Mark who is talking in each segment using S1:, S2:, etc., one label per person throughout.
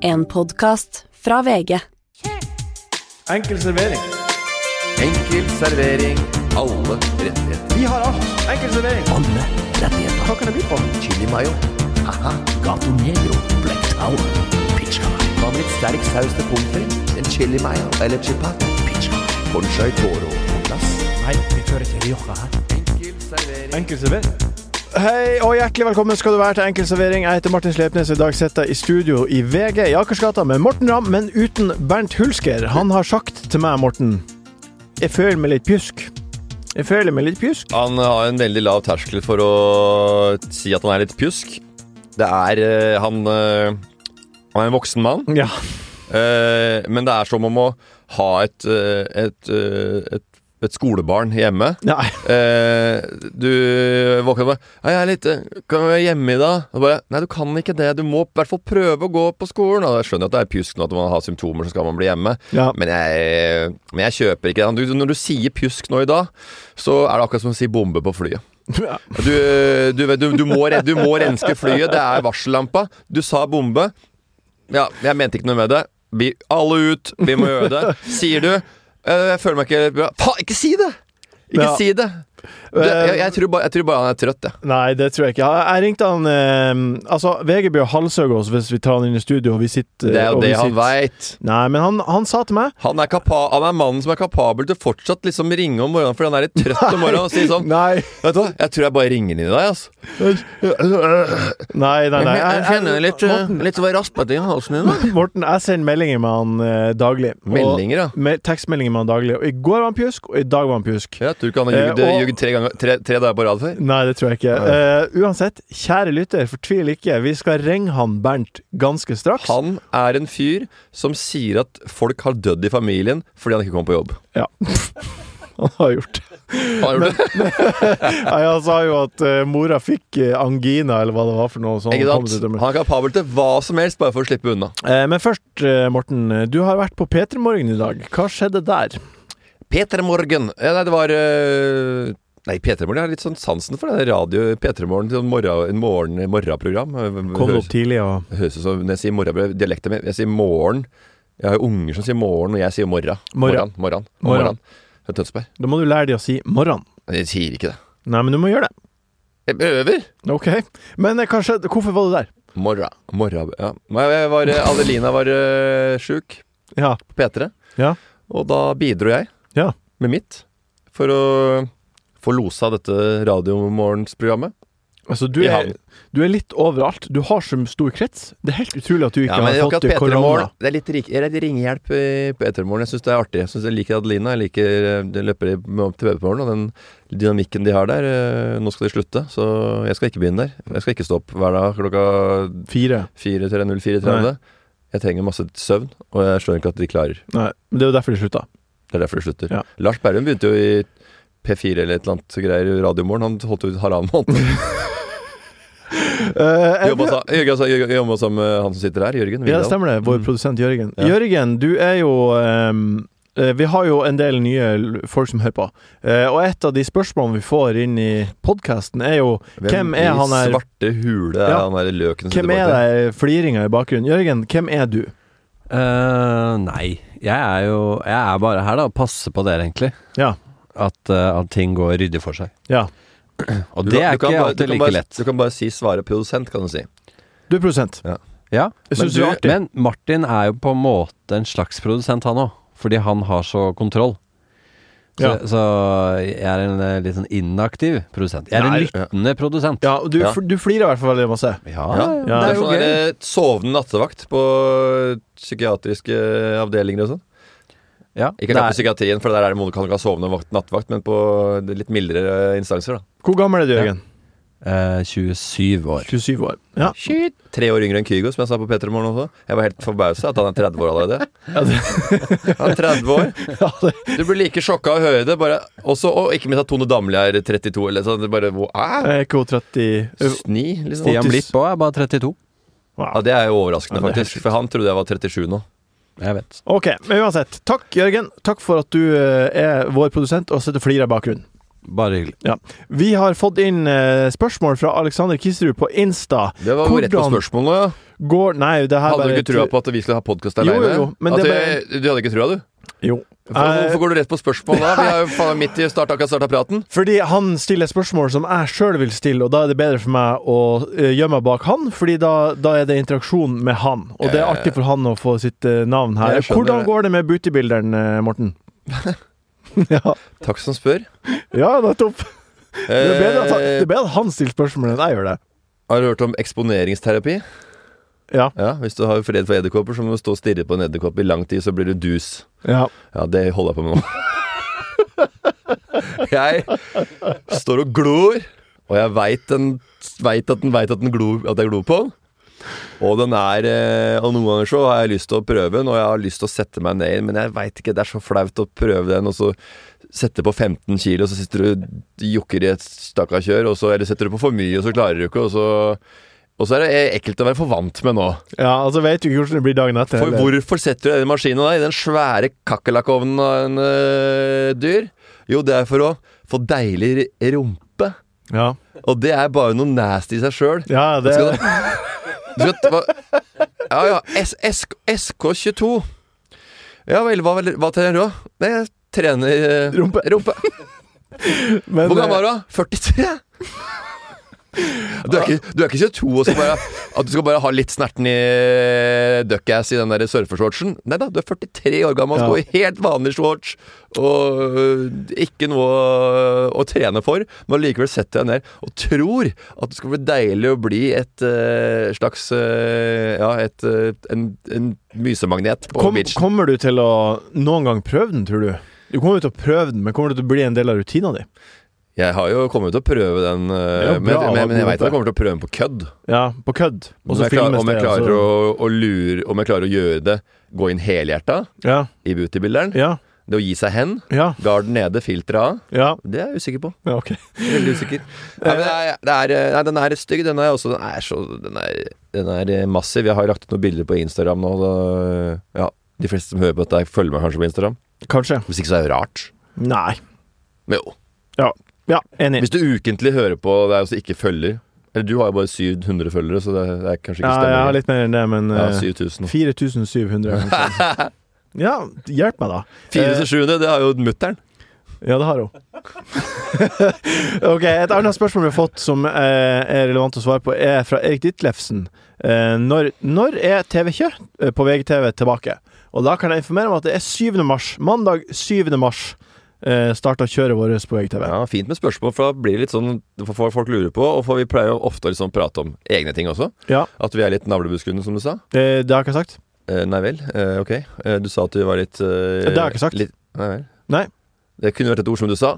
S1: En podkast fra VG.
S2: Enkel servering.
S3: Enkel servering. Alle rettigheter.
S2: Vi har alt. Enkel servering.
S4: Alle rettigheter.
S2: Hva kan det by på?
S3: Chili mayo. Aha.
S4: Gato Negro. Black Tower. Pizza.
S3: Hva med litt sterk saus til pommes frites? En chili mayo eller chipat?
S4: Pizza.
S3: Conchai toro på glass.
S4: Nei, vi fører til Rioja her.
S3: Enkel servering.
S2: Enkel servering. Hei og hjertelig velkommen skal du være til Enkel servering. Jeg heter Martin Slepnes, og i dag sitter jeg i studio i VG i Akersgata med Morten Ramm, men uten Bernt Hulsker. Han har sagt til meg, Morten, jeg føler meg litt pjusk. Jeg føler meg litt pjusk.
S5: Han har en veldig lav terskel for å si at han er litt pjusk. Det er eh, han eh, Han er en voksen mann,
S2: Ja.
S5: eh, men det er som om å ha et, eh, et, eh, et, et skolebarn hjemme.
S2: Nei.
S5: Eh, du våkner og bare «Nei, 'Jeg er litt eh, Kan vi være hjemme i dag?' Og bare 'Nei, du kan ikke det. Du må i hvert fall prøve å gå på skolen.' Og jeg skjønner at det er pjusk nå at man har symptomer, så skal man bli hjemme.
S2: Ja.
S5: Men jeg, men jeg kjøper ikke det. Du- Når du sier pjusk nå i dag, så er det akkurat som å si bombe på flyet.
S2: Ja.
S5: Du, du, vet, du, du, må, re- du må renske flyet. Det er varsellampa. Du sa bombe. Ja, jeg mente ikke noe med det. Vi, alle ut! Vi må gjøre det. Sier du «Eh, Jeg føler meg ikke bra. Faen, ikke si det! Ikke
S2: Ja.
S5: si det! Du, jeg, jeg, tror bare, jeg tror bare han er trøtt, jeg.
S2: Nei, det tror jeg ikke. Jeg jeg ringte han eh, Altså, VG bør halshøge oss hvis vi tar han inn i studio og vi sitter
S5: Det er jo
S2: og vi
S5: det han
S2: sitter-
S5: veit.
S2: Nei, men han, han sa til meg
S5: Han, er kapa- han er mannen som er kapabel til fortsatt liksom ringe om morgenen fordi han er litt trøtt om morgenen og si sånn
S2: Nei.
S5: Vet du hva, jeg tror jeg bare ringer inn i dag, altså.
S2: Nei, nei, nei. Jeg- jeg- Morten,
S5: litt raspete i halsen din.
S2: Morten, jeg sender meldinger med han eh, daglig. Og-
S5: Meldinger, ja.
S2: Med, tekstmeldinger med han daglig. Og I går var han pjusk, og i dag var han pjusk.
S5: Jeg tror ikke han har
S2: Eh,
S5: ljugd-
S2: og-
S5: ljugd tre, ganger- tre, tre dager på rad før.
S2: Nei, det tror jeg ikke. Eh, uansett, kjære lytter, fortvil ikke. Vi skal ringe han Bernt ganske straks.
S5: Han er en fyr som sier at folk har dødd i familien fordi han ikke kom på jobb.
S2: Ja. han har gjort det.
S5: Han har gjort det.
S2: Nei, Han sa jo at eh, mora fikk eh, angina, eller hva det var for noe. Så han
S5: Ikke
S2: kom til
S5: sant?
S2: dømmen.
S5: Han er kapabel til hva som helst bare for å slippe unna.
S2: Eh, Men først, eh, Morten. Du har vært på P3 Morgen i dag. Hva skjedde der?
S5: Peter Morgen. Ja, nei, det var eh, Nei, Peter Morgen. Jeg har litt sånn sansen for det der radio Peter Morgen. Sånn morgen, morgen, morgenprogram.
S2: Kom
S5: Høres-
S2: opp tidlig og
S5: Høres ut som når jeg sier morgenbrød, dialekten min, jeg sier morgen. Jeg har jo unger som sier morgen, og jeg sier morra.
S2: Morra.
S5: Morran. Morran.
S2: Morra.
S5: morran. Det er Tønsberg.
S2: Da må du lære de å si 'morran'.
S5: Men Jeg sier ikke det.
S2: Nei, men du må gjøre det.
S5: Jeg øver.
S2: Ok. Men eh, hva skjedde? Hvorfor var du der?
S5: Morra. Morra. Ja. Nei, jeg var, eh, Adelina var uh, sjuk
S2: Ja.
S5: på P3,
S2: Ja.
S5: og da bidro jeg
S2: Ja.
S5: med mitt for å få losa dette radiomorgensprogrammet.
S2: Altså, du
S5: I
S2: er,
S5: havn.
S2: du er litt overalt. Du har så stor krets. Det er helt utrolig at du ikke
S5: Ja, men
S2: har
S5: akkurat
S2: fått eh, korona.
S5: P3-morgen Det er litt eh, rik, eller det er ringehjelp i P3-morgen. Jeg syns det er artig. Jeg, synes jeg liker Adelina. Jeg liker eh, de løper i- med opp til P3-morgen, og den dynamikken de har der eh, Nå skal de slutte, så jeg skal ikke begynne der. Jeg skal ikke stå opp hver dag klokka
S2: Fire.
S5: 4 til 04.30. Jeg trenger masse søvn, og jeg skjønner ikke at de klarer.
S2: Nei, men det er jo derfor de slutta.
S5: Det er derfor det slutter.
S2: Ja.
S5: Lars Berrum begynte jo i P4 eller et eller annet greier i Radiomorgen. Han holdt ut halvannen måned.
S2: Eh,
S5: Jobba sa- Jørgen sa- Jørgen- jobba sammen med han som sitter her, Jørgen
S2: ja,
S5: Vigdal.
S2: stemmer det. Vår
S5: Mm.
S2: produsent Jørgen.
S5: Ja.
S2: Jørgen, du er jo ehm, eh, vi har jo en del nye l- folk som hører på, Eh, og et av de spørsmålene vi får inn i podkasten, er jo Hvem er
S5: i
S2: han her?
S5: svarte hule er
S2: Ja.
S5: han her løken
S2: Hvem er det fliringa i bakgrunnen? Jørgen, hvem er du?
S6: Eh, nei, jeg er jo Jeg er bare her da og passer på dere, egentlig.
S2: Ja.
S6: At, eh, at ting går ryddig for seg.
S2: Ja.
S6: Og det er ikke alltid like
S5: bare,
S6: lett.
S5: Du kan bare si 'svare produsent', kan du si.
S2: Du er produsent.
S6: Ja,
S2: Jeg
S6: men,
S2: syns du er artig.
S6: men Martin er jo på en måte en slags produsent, han òg. Fordi han har så kontroll. Så,
S2: Ja.
S6: så jeg er en eh, litt sånn inaktiv produsent. Jeg er
S2: Nei,
S6: en lyttende produsent.
S2: Ja, og du,
S5: Ja.
S2: f- du flirer i hvert fall veldig masse.
S6: Ah,
S5: Ja.
S6: Ja,
S2: Ja.
S6: det
S5: det
S6: er
S5: er
S6: jo
S5: sånn
S6: gøy.
S5: der, eh, sovende nattevakt på psykiatriske avdelinger og sånn.
S6: Ja,
S5: Ikke
S6: det
S5: akkurat på
S6: er,
S5: psykiatrien, for der er det man kan ikke ha sovende vakt, nattevakt, men på de litt mildere eh, instanser, da.
S2: Hvor gammel er du, Jørgen?
S6: eh, 27 år.
S2: 27 år. Ja.
S5: Tre år yngre enn Kygo, som jeg sa på P3 Morgen også. Jeg var helt forbausa at han er 30 år allerede. Han er 30 år.
S2: ja, det
S5: Du blir like sjokka av å høre det. Bare, også, og ikke minst at Tone Damli er 32, eller sånn. Det er bare hvor- æ?
S2: er ikke hun 30
S5: Sni, liksom.
S6: Stian Blipp òg er bare 32.
S5: Ja, det er jo overraskende,
S2: Ja, det er helt
S5: faktisk. For han trodde jeg var 37 nå.
S6: Jeg vet.
S2: Ok, men uansett. Takk, Jørgen. Takk for at du eh, er vår produsent og sitter og flirer i bakgrunnen.
S6: Bare hyggelig.
S2: Ja. Vi har fått inn eh, spørsmål fra Alexander Kisserud på Insta.
S5: Det var jo rett på
S2: Hvordan-
S5: spørsmålet. Ja.
S2: Går Nei, det her
S5: Hadde du
S2: bare
S5: ikke trua på at vi skulle ha podkast
S2: Jo, jo,
S5: aleine?
S2: jo, men
S5: At
S2: det
S5: vi- Du hadde ikke trua, du?
S2: Jo.
S5: For, hvorfor går du rett på spørsmål da? Vi er jo faen midt i starta, akkurat starta praten.
S2: Fordi han stiller spørsmål som jeg sjøl vil stille, og da er det bedre for meg å eh, gjemme meg bak han, fordi da, da er det interaksjon med han. Og det er artig for han å få sitt eh, navn her.
S5: Jeg skjønner
S2: Hvordan
S5: det.
S2: går det med bootybilderen, eh, Morten? ja.
S5: Takk som spør.
S2: ja, nettopp. Det er, bedre at han, det
S5: Eh,
S2: er bedre at han stiller spørsmål enn jeg gjør det.
S5: har du hørt om eksponeringsterapi?
S2: Ja.
S5: Ja, Hvis du har fred for edderkopper, så må du stå og stirre på en edderkopp i lang tid, så blir du dus.
S2: ja.
S5: Ja, det holder jeg på med nå. jeg står og glor, og jeg veit den veit at den veit at, den glor- at jeg glor på den. Og den er eh, Og noen ganger så har jeg lyst til å prøve den, og jeg har lyst til å sette meg ned i den, men jeg veit ikke, det er så flaut å prøve den, og så sette på 15 kilo, og så sitter du og jokker i et stakka kjør, og så eller setter du på for mye, og så klarer du ikke, og så Og så er det ekkelt å være for vant med nå.
S2: ja, altså vet du ikke hvordan det blir dagen etter.
S5: For
S2: heller.
S5: hvorfor setter du den maskinen da, i den svære kakerlakkovnen av en øh, dyr? Jo, det er for å få deilig r- rumpe.
S2: Ja,
S5: Og det er bare noe nasty i seg sjøl.
S2: ja det
S5: Skal du- Du vet hva Ja ja, S SK SK22. Ja vel, hva, vel- hva trener du, da? Nei, jeg trener øh,
S2: Rumpe.
S5: rumpe.
S2: Men,
S5: Hvor
S2: eh,
S5: gammel var du, da? 43? Du er, ikke, du er ikke 22 og skal bare, at du skal bare ha litt snerten i eh, duckass i den der surfeshortsen. Nei da, du er 43 år gammel og
S2: Ja.
S5: går i helt vanlig shorts og øh, ikke noe å, å trene for. Men likevel setter jeg ned og tror at det skal bli deilig å bli et øh, slags øh, Ja, et, øh, en, en mysemagnet på
S2: Kom,
S5: beachen.
S2: kommer du til å noen gang prøve den, tror du? Du kommer jo til å prøve den, men kommer det til å bli en del av rutina di?
S5: Jeg har jo kommet til å prøve den, øh,
S2: Ja,
S5: men,
S2: bra,
S5: men, men jeg
S2: god
S5: veit at jeg
S2: idé.
S5: kommer til å prøve den på kødd.
S2: Ja, på kødd. Og så
S5: Om
S2: altså.
S5: jeg, klarer,
S2: filmes
S5: om, jeg
S2: det, og så-
S5: klarer å, å lure, om jeg klarer å gjøre det Gå inn helhjerta
S2: Ja,
S5: i bootybilderen.
S2: ja,
S5: Det å gi seg hen.
S2: ja,
S5: Garden nede, filteret av.
S2: ja,
S5: Det er jeg usikker på.
S2: ja ok.
S5: Veldig usikker. Nei, men det er, det er, eh, nei, den er stygg. Den er, også, den, er så, den, er, den er eh, massiv. Jeg har lagt ut noen bilder på Instagram nå. Da, eh, ja, de fleste som hører på dette, følger meg kanskje på Instagram.
S2: Kanskje.
S5: Hvis ikke så er det rart.
S2: Nei.
S5: Men jo.
S2: Ja, ja enig.
S5: Hvis du ukentlig hører på deg og så ikke følger Eller du har jo bare 700 følgere, så det, det er kanskje
S2: Ja,
S5: ikke
S2: jeg har
S5: stemmer.
S2: litt mer enn det, men
S5: Ja,
S2: eh,
S5: 7000.
S2: 4700. eller noe sånt. Ja, hjelp meg, da.
S5: 4700, det har jo mutter'n.
S2: Ja, det har hun. ok, Et annet spørsmål vi har fått som eh, er relevant å svare på, er fra Erik Ditlevsen. Eh, når, når er TV-kjør eh, på VGTV tilbake? Og da kan jeg informere om at det er 7. mars. Mandag 7. mars eh, starta kjøret vårt på VGTV.
S5: Ja, Fint med spørsmål, for da blir det litt sånn for folk lurer på. Og for vi pleier jo ofte å liksom prate om egne ting også.
S2: Ja.
S5: At vi er litt navlebeskuende, som du sa.
S2: Eh, det har jeg ikke sagt?
S5: Eh, nei vel, eh, ok. Eh, du sa at vi var litt eh,
S2: Det har jeg ikke sagt.
S5: Litt, nei vel.
S2: Nei.
S5: Det kunne vært et ord som du sa.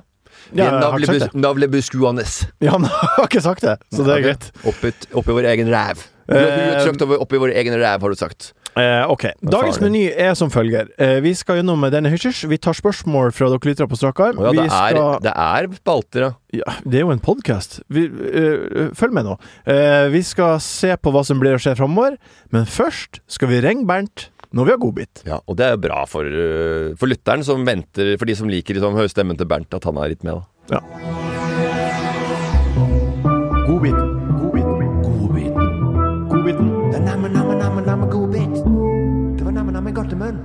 S5: Vi
S2: Ja,
S5: er
S2: jeg har ikke sagt det.
S5: navlebes- navlebeskuende.
S2: Ja, men jeg har ikke sagt det, så det er
S5: Ok.
S2: greit.
S5: Oppi, oppi vår egen ræv. Du har du har trykt over- oppi vår egen ræv, har du sagt.
S2: Eh, ok. Dagens
S5: farlig.
S2: meny er som følger. Eh, vi skal gjennom denne hysjers. Vi tar spørsmål fra dere lyttere på strak arm.
S5: Å ja,
S2: vi
S5: det er,
S2: skal...
S5: det er spalter, ja.
S2: ja, det er jo en podkast. eh, følg med nå. Eh, vi skal se på hva som blir å skje framover, men først skal vi ringe Bernt når vi har godbit.
S5: ja. Og det er jo bra for, eh, for lytteren som venter, for de som liker liksom, høystemmen til Bernt, at han er litt med, da.
S2: Ja. Godbit. Godbit.
S7: Godbit.
S2: Godbiten.
S8: Det er namme, namme, namme, namme godbit. Det var namme, namme godtemunn.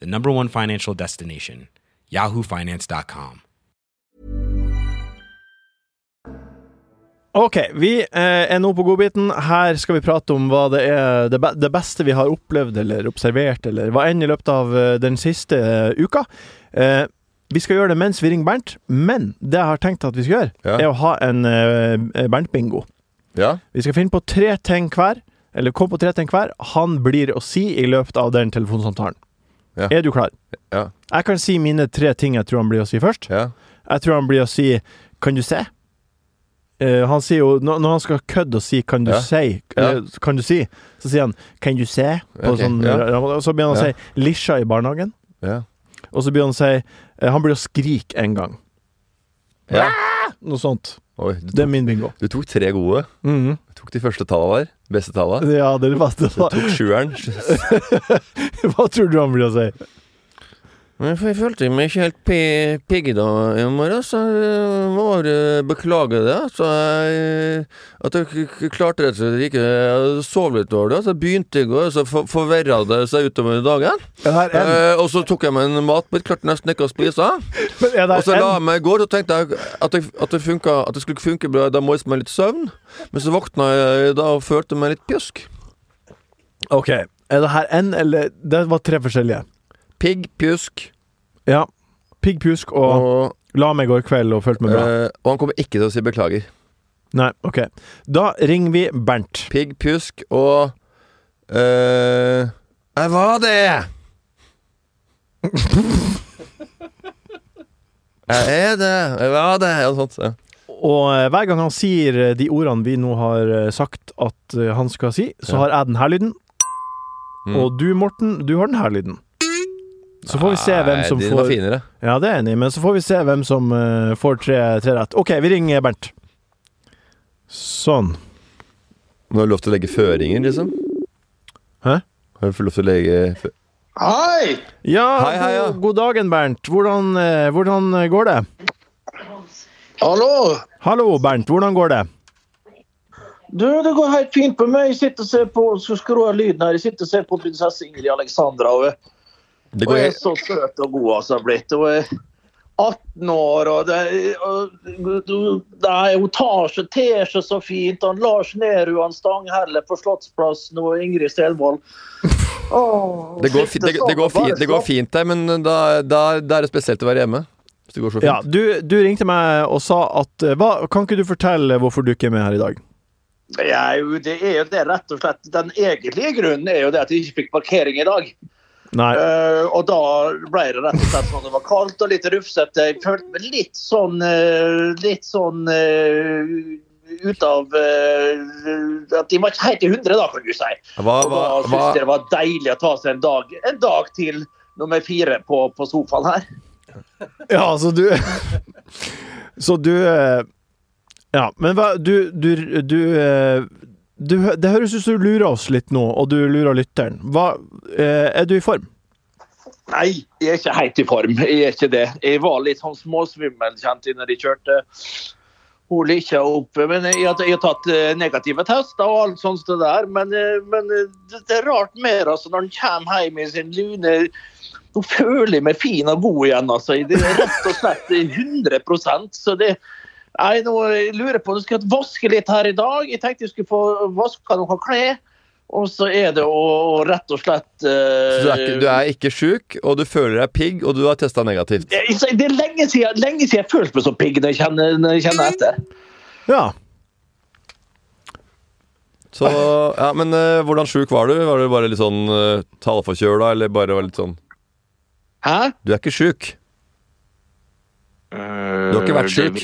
S9: the number one financial destination, yahoofinance.com.
S2: Ok, vi eh, er nå på godbiten. Her skal vi prate om hva det er det, be det beste vi har opplevd eller observert, eller hva enn i løpet av eh, den siste eh, uka. Eh, vi skal gjøre det mens vi ringer Bernt, men det jeg har tenkt at vi skal gjøre,
S5: Ja.
S2: er å ha en eh, Bernt-bingo.
S5: Ja.
S2: Vi skal finne på tre ting hver, eller kom på tre ting hver, han blir å si i løpet av den telefonsamtalen.
S5: Ja.
S2: Er du klar?
S5: Ja.
S2: Jeg kan si mine tre ting jeg tror han blir å si først.
S5: ja.
S2: Jeg tror han blir å si 'kan du se'? Eh, han sier jo, når, når han skal kødde og si 'kan du
S5: Ja.
S2: si', eller 'kan du si', så sier han 'can you se'? På
S5: Ok,
S2: sånn,
S5: ja.
S2: ra- Og så begynner han å
S5: Ja.
S2: si 'lisja i barnehagen',
S5: ja.
S2: og så begynner han å si eh, Han blir å skrike en gang.
S5: ja.
S2: Noe sånt.
S5: Oi, du,
S2: Det er min bingo.
S5: du tok tre gode.
S2: Mhm.
S5: Du tok de første tallene der. Beste tallene.
S2: Ja, det er det beste.
S5: Du tok sjueren.
S2: Hva tror du han blir å si?
S5: Men jeg følte meg ikke helt pi- piggy da i morges. så Jeg må bare beklage det. Så jeg, at jeg k- k- klarte rett og slett ikke Jeg sov litt dårlig, så jeg begynte i går, så for- forverra det seg utover dagen.
S2: Er det her en?
S5: Eh, og så tok jeg meg en matbit, klarte nesten ikke å spise.
S2: Men er
S5: Eh, Og
S2: det
S5: så
S2: her
S5: la
S2: en?
S5: jeg meg i går, og tenkte jeg at, jeg, at, det, funka, at det skulle funke bra i dag morges med litt søvn. Men så våkna jeg da og følte meg litt pjusk.
S2: Ok. Er det her en, eller Det var tre forskjellige.
S5: Pigg, pjusk
S2: Ja. Pigg pjusk og
S5: og,
S2: la meg gå i kveld og følte meg bra.
S5: eh, og han kommer ikke til å si beklager.
S2: Nei, ok. Da ringer vi Bernt.
S5: Pigg, pjusk og eh, Jeg var det! Jeg er det, jeg var det, og sånt. Ja.
S2: Og eh, hver gang han sier eh, de ordene vi nå har eh, sagt at eh, han skal si, så
S5: Ja.
S2: har jeg den her lyden.
S5: Mm.
S2: Og du, Morten, du har den her lyden. Så får vi se hvem som
S5: Nei, din var
S2: får
S5: finere.
S2: Ja, det er jeg enig, i, men så får vi se hvem som eh, får tre, tre rett. OK, vi ringer Bernt. Sånn.
S5: Nå har du lov til å legge føringer, liksom?
S2: Hæ?
S5: Har du fått lov til å legge fø-
S9: Hei!
S2: Ja,
S5: Hei, hei, ja.
S2: god, god dagen, Bernt. Hvordan, eh, hvordan går det?
S9: Hallo!
S2: Hallo, Bernt. Hvordan går det?
S9: Du, det går helt fint på meg. Jeg sitter og ser på så skrur jeg lyden her. Jeg sitter og ser på prinsesse Ingrid Alexandra. Og, jeg-
S5: Det
S9: og
S5: går
S9: jeg er
S5: helt
S9: så søt og god altså, jeg har blitt. Og jeg er 18 år, og, det, er- og du- er nei, hun tar seg ter seg så fint. Han Lars Nehru han Stanghelle på Slottsplassen og Ingrid Stenvold. Åh,
S5: Det går, fi- det, det, går fint, det går fint der, men da, da, da er det spesielt å være hjemme. Hvis det går så fint.
S2: Ja, du, du ringte meg og sa at eh, hva, Kan ikke du fortelle hvorfor du ikke er med her i dag?
S9: Ja, jo, det er jo det, rett og slett. Den egentlige grunnen er jo det at jeg ikke fikk parkering i dag.
S2: Nei.
S9: Eh, og da ble det rett og slett sånn det var kaldt og litt rufsete. Jeg følte meg litt sånn eh, Litt sånn eh, ut av eh, At de var ikke helt i hundre, da, kan du si.
S5: Hva,
S9: Og
S5: hva,
S9: da
S5: hva,
S9: syntes jeg det var deilig å ta seg en dag, en dag til nummer fire på, på sofaen her.
S2: Ja, så du Så du eh, Ja, men hva Du, du, du, eh, du hø- Det høres ut som du lurer oss litt nå, og du lurer lytteren. Hva eh, Er du i form?
S9: Nei, jeg er ikke helt i form. Jeg er ikke det. Jeg var litt sånn småsvimmel, kjente jeg, når jeg kjørte. Hun ikke opp, men jeg, har- jeg har tatt eh, negative tester og alt sånt det der. Men, eh, men eh, det, det er rart mer, altså, når en kommer hjem i sin lune Nå føler jeg meg fin og god igjen, altså. Det er rett og slett 100 så det Nei, nå jeg lurer på, du skulle hatt vaske litt her i dag. Jeg tenkte jeg skulle få vaska noen klær. Og så er det å å rett og slett
S5: så
S9: eh,
S5: du, er ikke, du er ikke sjuk, og du føler deg pigg, og du har testa negativt.
S9: Jeg- jeg- Det er lenge siden, lenge siden jeg følte meg så pigg når jeg kjenner, når jeg kjenner etter.
S2: Ja.
S5: Så, ja, Men eh, hvordan sjuk var du? Var du bare litt sånn uh, taleforkjøla, eller bare var litt sånn
S9: Hæ?
S5: Du er ikke sjuk. Du har ikke vært sjuk.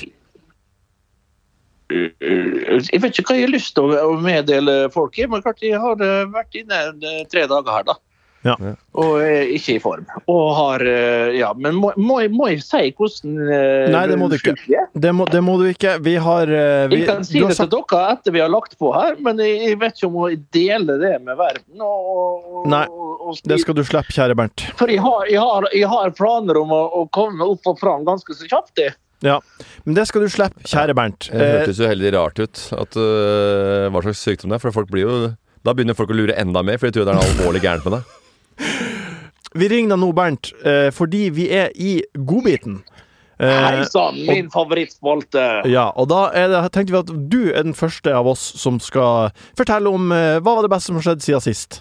S9: Jeg vet ikke hva jeg har lyst til å å meddele folk, i, men klart jeg har eh, vært inne eh, tre dager her, da.
S2: Ja.
S9: Og er ikke i form. Og har eh, Ja, men må, må, jeg, må jeg si hvordan eh,
S2: Nei, det må du ikke.
S9: sjuk jeg er?
S2: Det må, det må du ikke. Vi har eh, vi,
S9: Jeg kan si
S2: du har
S9: det til dere etter vi har lagt på her, men jeg, jeg vet ikke om jeg deler det med verden. Og, og,
S2: Nei,
S9: og, og
S2: Det skal du slippe, kjære Bernt.
S9: For jeg har, jeg har, jeg har planer om å, å komme opp og fram ganske så kjapt. det.
S2: Ja. Men det skal du slippe, kjære Bernt.
S5: Det
S2: Eh,
S5: hørtes jo heldig rart ut at eh, hva slags sykdom det er. For folk blir jo Da begynner folk å lure enda mer, for de tror det er noe alvorlig gærent med deg.
S2: Vi ringer deg nå, Bernt, eh, fordi vi er i godbiten. Eh,
S9: Hei sann, min favorittspalte!
S2: ja, og da er det, tenkte vi at du er den første av oss som skal fortelle om eh, hva var det beste som har skjedd siden sist.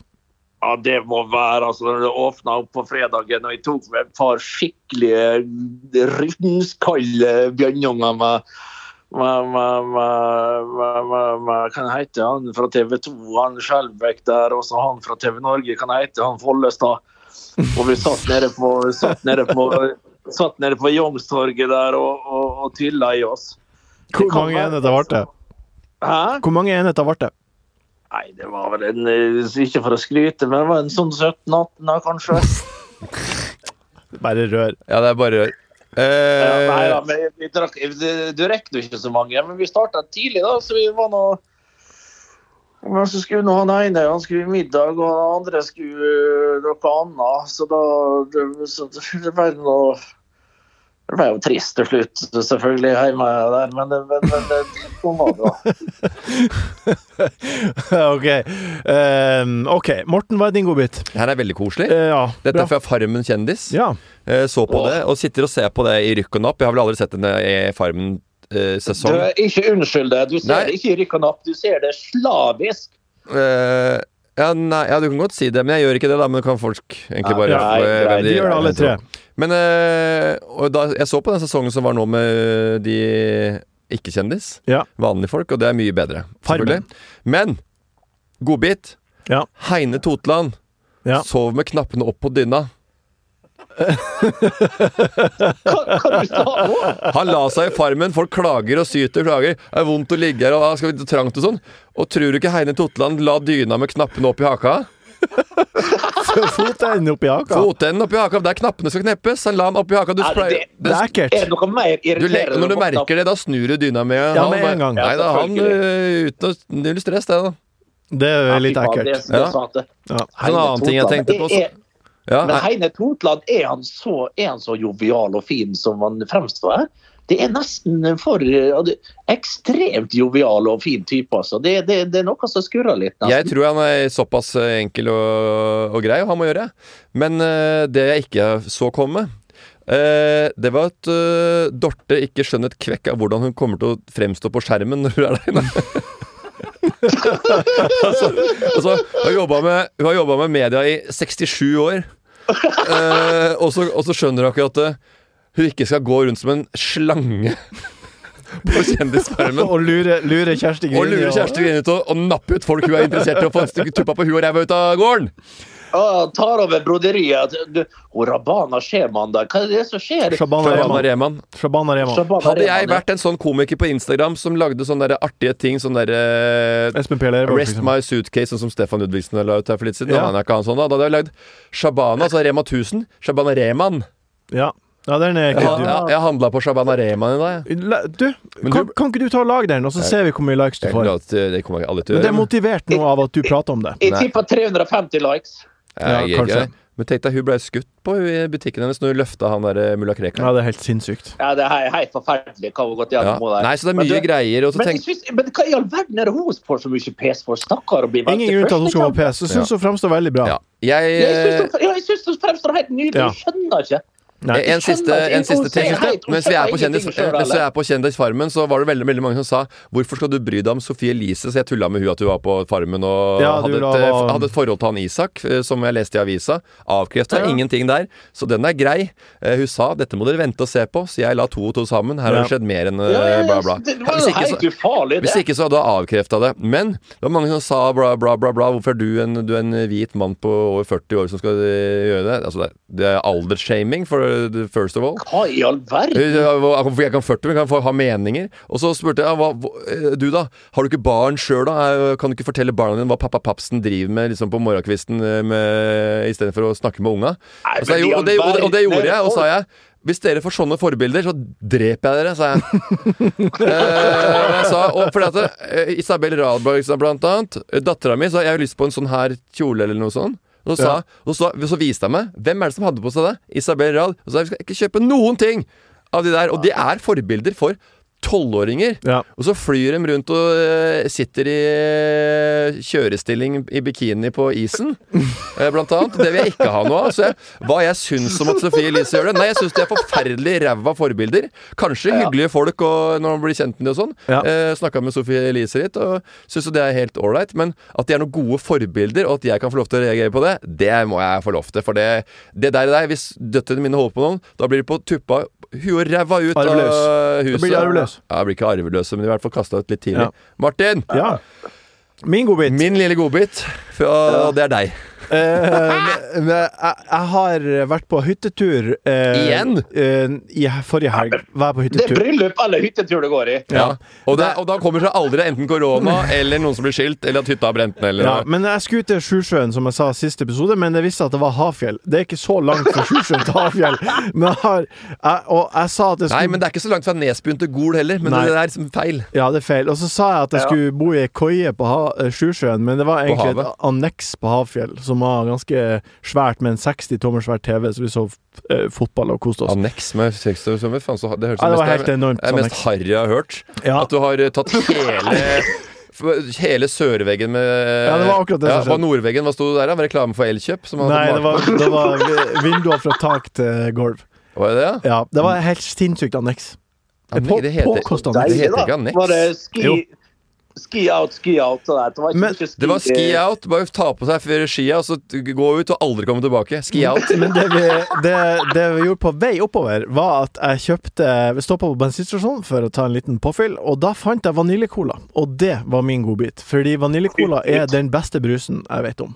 S9: Ja, det må være altså, når det åpna opp på fredagen og jeg tok med et par skikkelige rundskalle bjørnunger med, med, med, med, med, med, med Hva heter han fra TV 2? Han Skjelbæk der, og så han fra TV Norge. Hva heter han Follestad? Og vi satt nede på, satt nede på, satt nede på Youngstorget der og, og, og tylla i oss.
S2: Hvor
S9: kan
S2: mange
S9: være-
S2: enheter ble det?
S9: Hæ?
S2: Hvor mange enheter ble det?
S9: Nei, det var vel en eh, Ikke for å skryte, men det var en sånn 17-18, da, kanskje.
S2: Bare rør.
S5: Ja, det er bare rør.
S9: Ja,
S5: Eh,
S9: nei da, men vi, vi drakk, du, du rekker jo ikke så mange, men vi starta tidlig, da, så vi var nå men så skulle nå han ene han skulle i middag, og han andre skulle øh, noe annet. Så da det- så det ble noe, Det ble jo trist til slutt, selvfølgelig, hjemme der, men, det- men, men det, sånn var det. da.
S2: ok. Ehm, ok, Morten, hva er din godbit?
S5: det her er veldig koselig.
S2: Eh, ja,
S5: Dette
S2: bra.
S5: er fra Farmen kjendis.
S2: Ja.
S5: Eh, så på det, og sitter og ser på det i rykk og napp. Jeg har vel aldri sett en eh,
S9: Du,
S5: Farmen-sesong.
S9: ikke unnskyld deg. Du ser
S5: Nei.
S9: det ikke i rykk og napp, du ser det slavisk.
S5: Eh, ja, nei, ja, du kan godt si det, men jeg gjør ikke det, da. Men du kan folk egentlig bare
S9: Nei,
S5: få, eh,
S9: nei,
S5: hvem
S2: De gjør det alle tre.
S5: Men eh, og da, jeg så på den sesongen som var nå med de ikke-kjendis.
S2: Ja.
S5: Vanlige folk, og det er mye bedre.
S2: Farmen.
S5: selvfølgelig. Men godbit.
S2: Ja.
S5: Heine Totland
S2: Ja.
S5: sov med knappene opp på dyna.
S9: Hva, hva du sa nå?
S5: Han la seg i farmen, folk klager og syter og klager. Det er vondt å ligge her, og «Ah, skal vi trangt og sånn. Og tror du ikke Heine Totland la dyna med knappene opp i haka?
S2: Foten oppi haka.
S5: Fotenden oppi haka, der knappene skal kneppes. Han la den oppi haka. Du
S9: Er
S5: spreier
S9: det-
S2: Det er ekkelt.
S9: Er det noe Eh, mer
S5: du le når du
S9: irriterende? enn å våkne opp
S5: merker det, da snur du dyna med
S2: Ja,
S5: han
S2: med en
S5: bare-
S2: gang.
S5: Nei, da,
S9: Ja,
S5: han øh, uten å Null stress, det, da.
S2: Det er litt
S9: Ja, fy faen,
S2: ekkelt.
S9: det er
S5: Ja.
S9: sant, det.
S2: Ja.
S5: En annen ting jeg
S9: Totland,
S5: tenkte på Ah,
S9: det er-
S5: så, ja,
S9: Men
S5: nei,
S9: Heine Totland, er han, så, er han så jovial og fin som han fremstår her? Det er nesten for ja, det- ekstremt jovial og fin type, altså. Det, det, det er noe som skurrer litt. nesten.
S5: Jeg tror han er såpass øh, enkel og, og grei, og han må gjøre. Men øh, det jeg ikke så komme øh, det var at øh, Dorte ikke skjønner et kvekk av hvordan hun kommer til å fremstå på skjermen når hun er der inne. altså, altså, hun har jobba med, hun har jobbet med media i 67 år. Eh, og, så, og så skjønner hun ikke at eh, hun ikke skal gå rundt som en slange på kjendisfarmen.
S2: Og lure, lure Kjersti Grini.
S5: Og lure
S2: og-
S5: Kjersti Grine til å, å nappe ut folk hun er interessert i å få en stykke tuppa på huet og ræva ut av gården.
S9: Ja, han tar over broderiet. Du, og Rabana Sheman der, hva er det som skjer?
S2: Shabana
S5: Shabana
S2: Rehman.
S5: Rehman.
S2: Shabana Rehman.
S9: Shabana
S5: Hadde jeg
S9: Rehman,
S5: vært en sånn komiker på Instagram som lagde sånne der artige ting, sånn derre
S2: Espen P. Lervåg, for
S5: Rest
S2: eksempel.
S5: my suitcase, sånn som Stefan Ludvigsen la ut her for litt siden.
S2: liksom- Ja.
S5: Da, hadde jeg ikke han sånn, da. da hadde jeg lagd Shabana, altså Rema 1000. Shabana Rehman.
S2: Ja. ja, den er
S5: Jeg,
S2: ekkelt.
S5: jeg, jeg handla på Shabana Rehman i dag. jeg.
S2: La- Du,
S5: Men
S2: kan,
S5: du-
S2: kan ikke du ta og lage den, og så ser vi hvor mye likes du
S5: Jeg er
S2: får?
S5: glad at, eh, Det kommer jeg aldri til å
S2: Men det er
S5: gjøre.
S2: motivert nå av at du prater om det.
S9: Jeg
S5: Nei.
S9: tipper 350 likes.
S5: men- Jeg
S2: Ja,
S5: er ikke-
S2: kanskje.
S5: Men tenk deg, hun ble skutt på hun i butikken hennes når hun løfta han der eh, mulla Krekar.
S2: Ja, det er helt sinnssykt.
S9: Ja, det er helt forferdelig hva hun har gått
S5: Ja.
S9: gjennom. hun der.
S5: Nei, så det er
S9: Men
S5: mye
S9: du-
S5: greier. Og så
S9: Men,
S5: tenk
S9: jeg synes, men hva i all verden er det hun får så mye pes for? Stakkar. å bli valgt
S2: Ingen grunn til at hun skal være
S9: første gang.
S2: pes. Jeg syns hun fremstår veldig bra.
S5: Ja. Jeg,
S9: Jeg syns hun- ja, Jeg syns hun fremstår helt nydelig.
S2: Ja.
S9: Jeg skjønner ikke.
S2: Nei,
S5: en siste,
S9: skjønner
S5: en
S9: ikke, hun
S5: siste ting.
S9: sier hei, hun
S5: Mens vi er på,
S9: skjønner
S5: kjendis,
S9: ingenting selv,
S5: mens vi
S9: eller?
S5: er på Kjendisfarmen, så var det veldig veldig mange som sa 'Hvorfor skal du bry deg om Sophie Elise?' Så jeg tulla med hun at hun var på Farmen og
S2: Ja, du
S5: hadde, et,
S2: la-
S5: eh, hadde et forhold til han Isak, eh, som jeg leste i avisa. Avkrefta
S2: Ja.
S5: ingenting der, så den er grei. Eh, Hun sa 'Dette må dere vente og se på', så jeg la to og to sammen. Her har det
S2: Ja.
S5: skjedd mer enn
S9: Ja, ja,
S5: eh,
S9: ja,
S5: bla, bla.
S9: Det var
S5: Hvis
S9: jo
S5: ikke, så,
S9: helt ufarlig,
S5: hvis
S9: det.
S5: ikke så hadde jeg avkrefta det. Men det var mange som sa bla, bla, bla, bla. Hvorfor er du en, du er en hvit mann på over 40 år som skal eh, gjøre det? Altså, det er- det er aldersshaming, for the first of all.
S9: Hva i all verden?
S5: Eh, Hvorfor jeg kan 40, men kan få ha meninger? Og så spurte jeg ja, hva, hva- eh, du, da. Har du ikke barn sjøl, da? Eh, Kan du ikke fortelle barna dine hva pappa Papsen driver med liksom på morgenkvisten eh, med- istedenfor å snakke med unga?
S9: Nei,
S5: Og, så, jeg,
S9: men i
S5: gjorde- og, det, og, det, og det
S9: all
S5: gjorde jeg, og
S9: verden.
S5: sa jeg. Hvis dere får sånne forbilder, så dreper jeg dere, sa jeg. Eh, jeg sa, og fordi at eh, Isabel Radberg, sa blant annet. Dattera mi sa jeg har lyst på en sånn her kjole eller noe sånn. Og så, sa, og så, så viste jeg meg. Hvem er det som hadde på seg det? Isabel Rad. Og så sa jeg vi skal ikke kjøpe noen ting av de der. Og de er forbilder for tolvåringer.
S2: Ja.
S5: Og så flyr de rundt og eh, sitter i eh, kjørestilling i bikini på isen, eh, blant annet. Det vil jeg ikke ha noe av. Så jeg, hva jeg syns om at Sophie Elise gjør det? Nei, jeg syns de er forferdelig ræva forbilder. Kanskje hyggelige folk og, når man blir kjent med dem og sånn.
S2: Ja.
S5: Eh, Snakka med Sophie Elise litt, og syns jo det er helt ålreit. Men at de er noen gode forbilder, og at jeg kan få lov til å reagere på det, det må jeg få lov til. For det, det der, der Hvis døtrene mine holder på noen, da blir de på tuppa huet og ræva ut
S2: Arveløs.
S5: av huset.
S2: Da blir de arveløs.
S5: Ja, jeg blir ikke arveløse, men i hvert fall kasta ut litt tidlig.
S2: Ja.
S5: Martin!
S2: Ja. Min godbit.
S5: Min lille godbit, fra, det er deg.
S2: Eh, men jeg, jeg har vært på hyttetur eh,
S5: Igjen?
S2: eh, I forrige helg var jeg på
S9: Det er
S2: hyttetur.
S9: bryllup eller hyttetur det går i.
S5: Ja. Og, det, og da kommer det aldri enten korona eller noen som blir skilt, eller at hytta har brent ned, eller
S2: Ja,
S5: noe.
S2: men jeg skulle til Sjusjøen, som jeg sa i siste episode, men jeg visste at det var Hafjell. Det er ikke så langt fra Sjusjøen til Hafjell. Men jeg har, jeg, og jeg sa at jeg
S5: Nei,
S2: skulle
S5: men det er ikke så langt fra Nesbyen til Gol heller, men
S2: Nei.
S5: det er liksom feil.
S2: Ja, det er feil. Og så sa jeg at jeg
S9: Ja.
S2: skulle bo i ei koie på ha eh, Sjusjøen, men det var egentlig
S5: havet.
S2: et anneks på Hafjell, som var ganske svært, med en 60 tommer svær TV, så vi så eh, fotball og koste oss.
S5: Anneks med sexturisme, faen så Det høres
S2: Ja, det var
S5: mest-
S2: helt enormt,
S5: Det er mest
S2: anneks.
S5: harry jeg har hørt.
S2: Ja.
S5: At du har eh, tatt hele f- Hele sørveggen med
S2: Ja, det var akkurat det som skjedde.
S5: Var nordveggen, hva sto det der? da? Var det Reklame for Elkjøp? som hadde
S2: Nei, det
S5: malt
S2: var, det var vi- vinduer fra tak til gulv.
S5: på? Var det det, ja?
S2: Ja, det var et helt sinnssykt anneks.
S5: Ja, men
S2: På-
S5: det heter-
S2: påkosta
S5: Det
S2: anneks.
S5: heter ikke anneks.
S9: Var det ski,
S2: Jo.
S9: ski out, ski out og det? Det var ikke
S2: Men-
S9: mye ski,
S5: Det var ski out. Bare ta på seg før skia, og så t- gå ut og aldri komme tilbake. Ski out.
S2: Men det vi, det, det vi gjorde på vei oppover, var at jeg kjøpte Vi stoppa på bensinstasjonen for å ta en liten påfyll, og da fant jeg vaniljekola. Og det var min godbit, fordi vaniljekola er den beste brusen jeg vet om.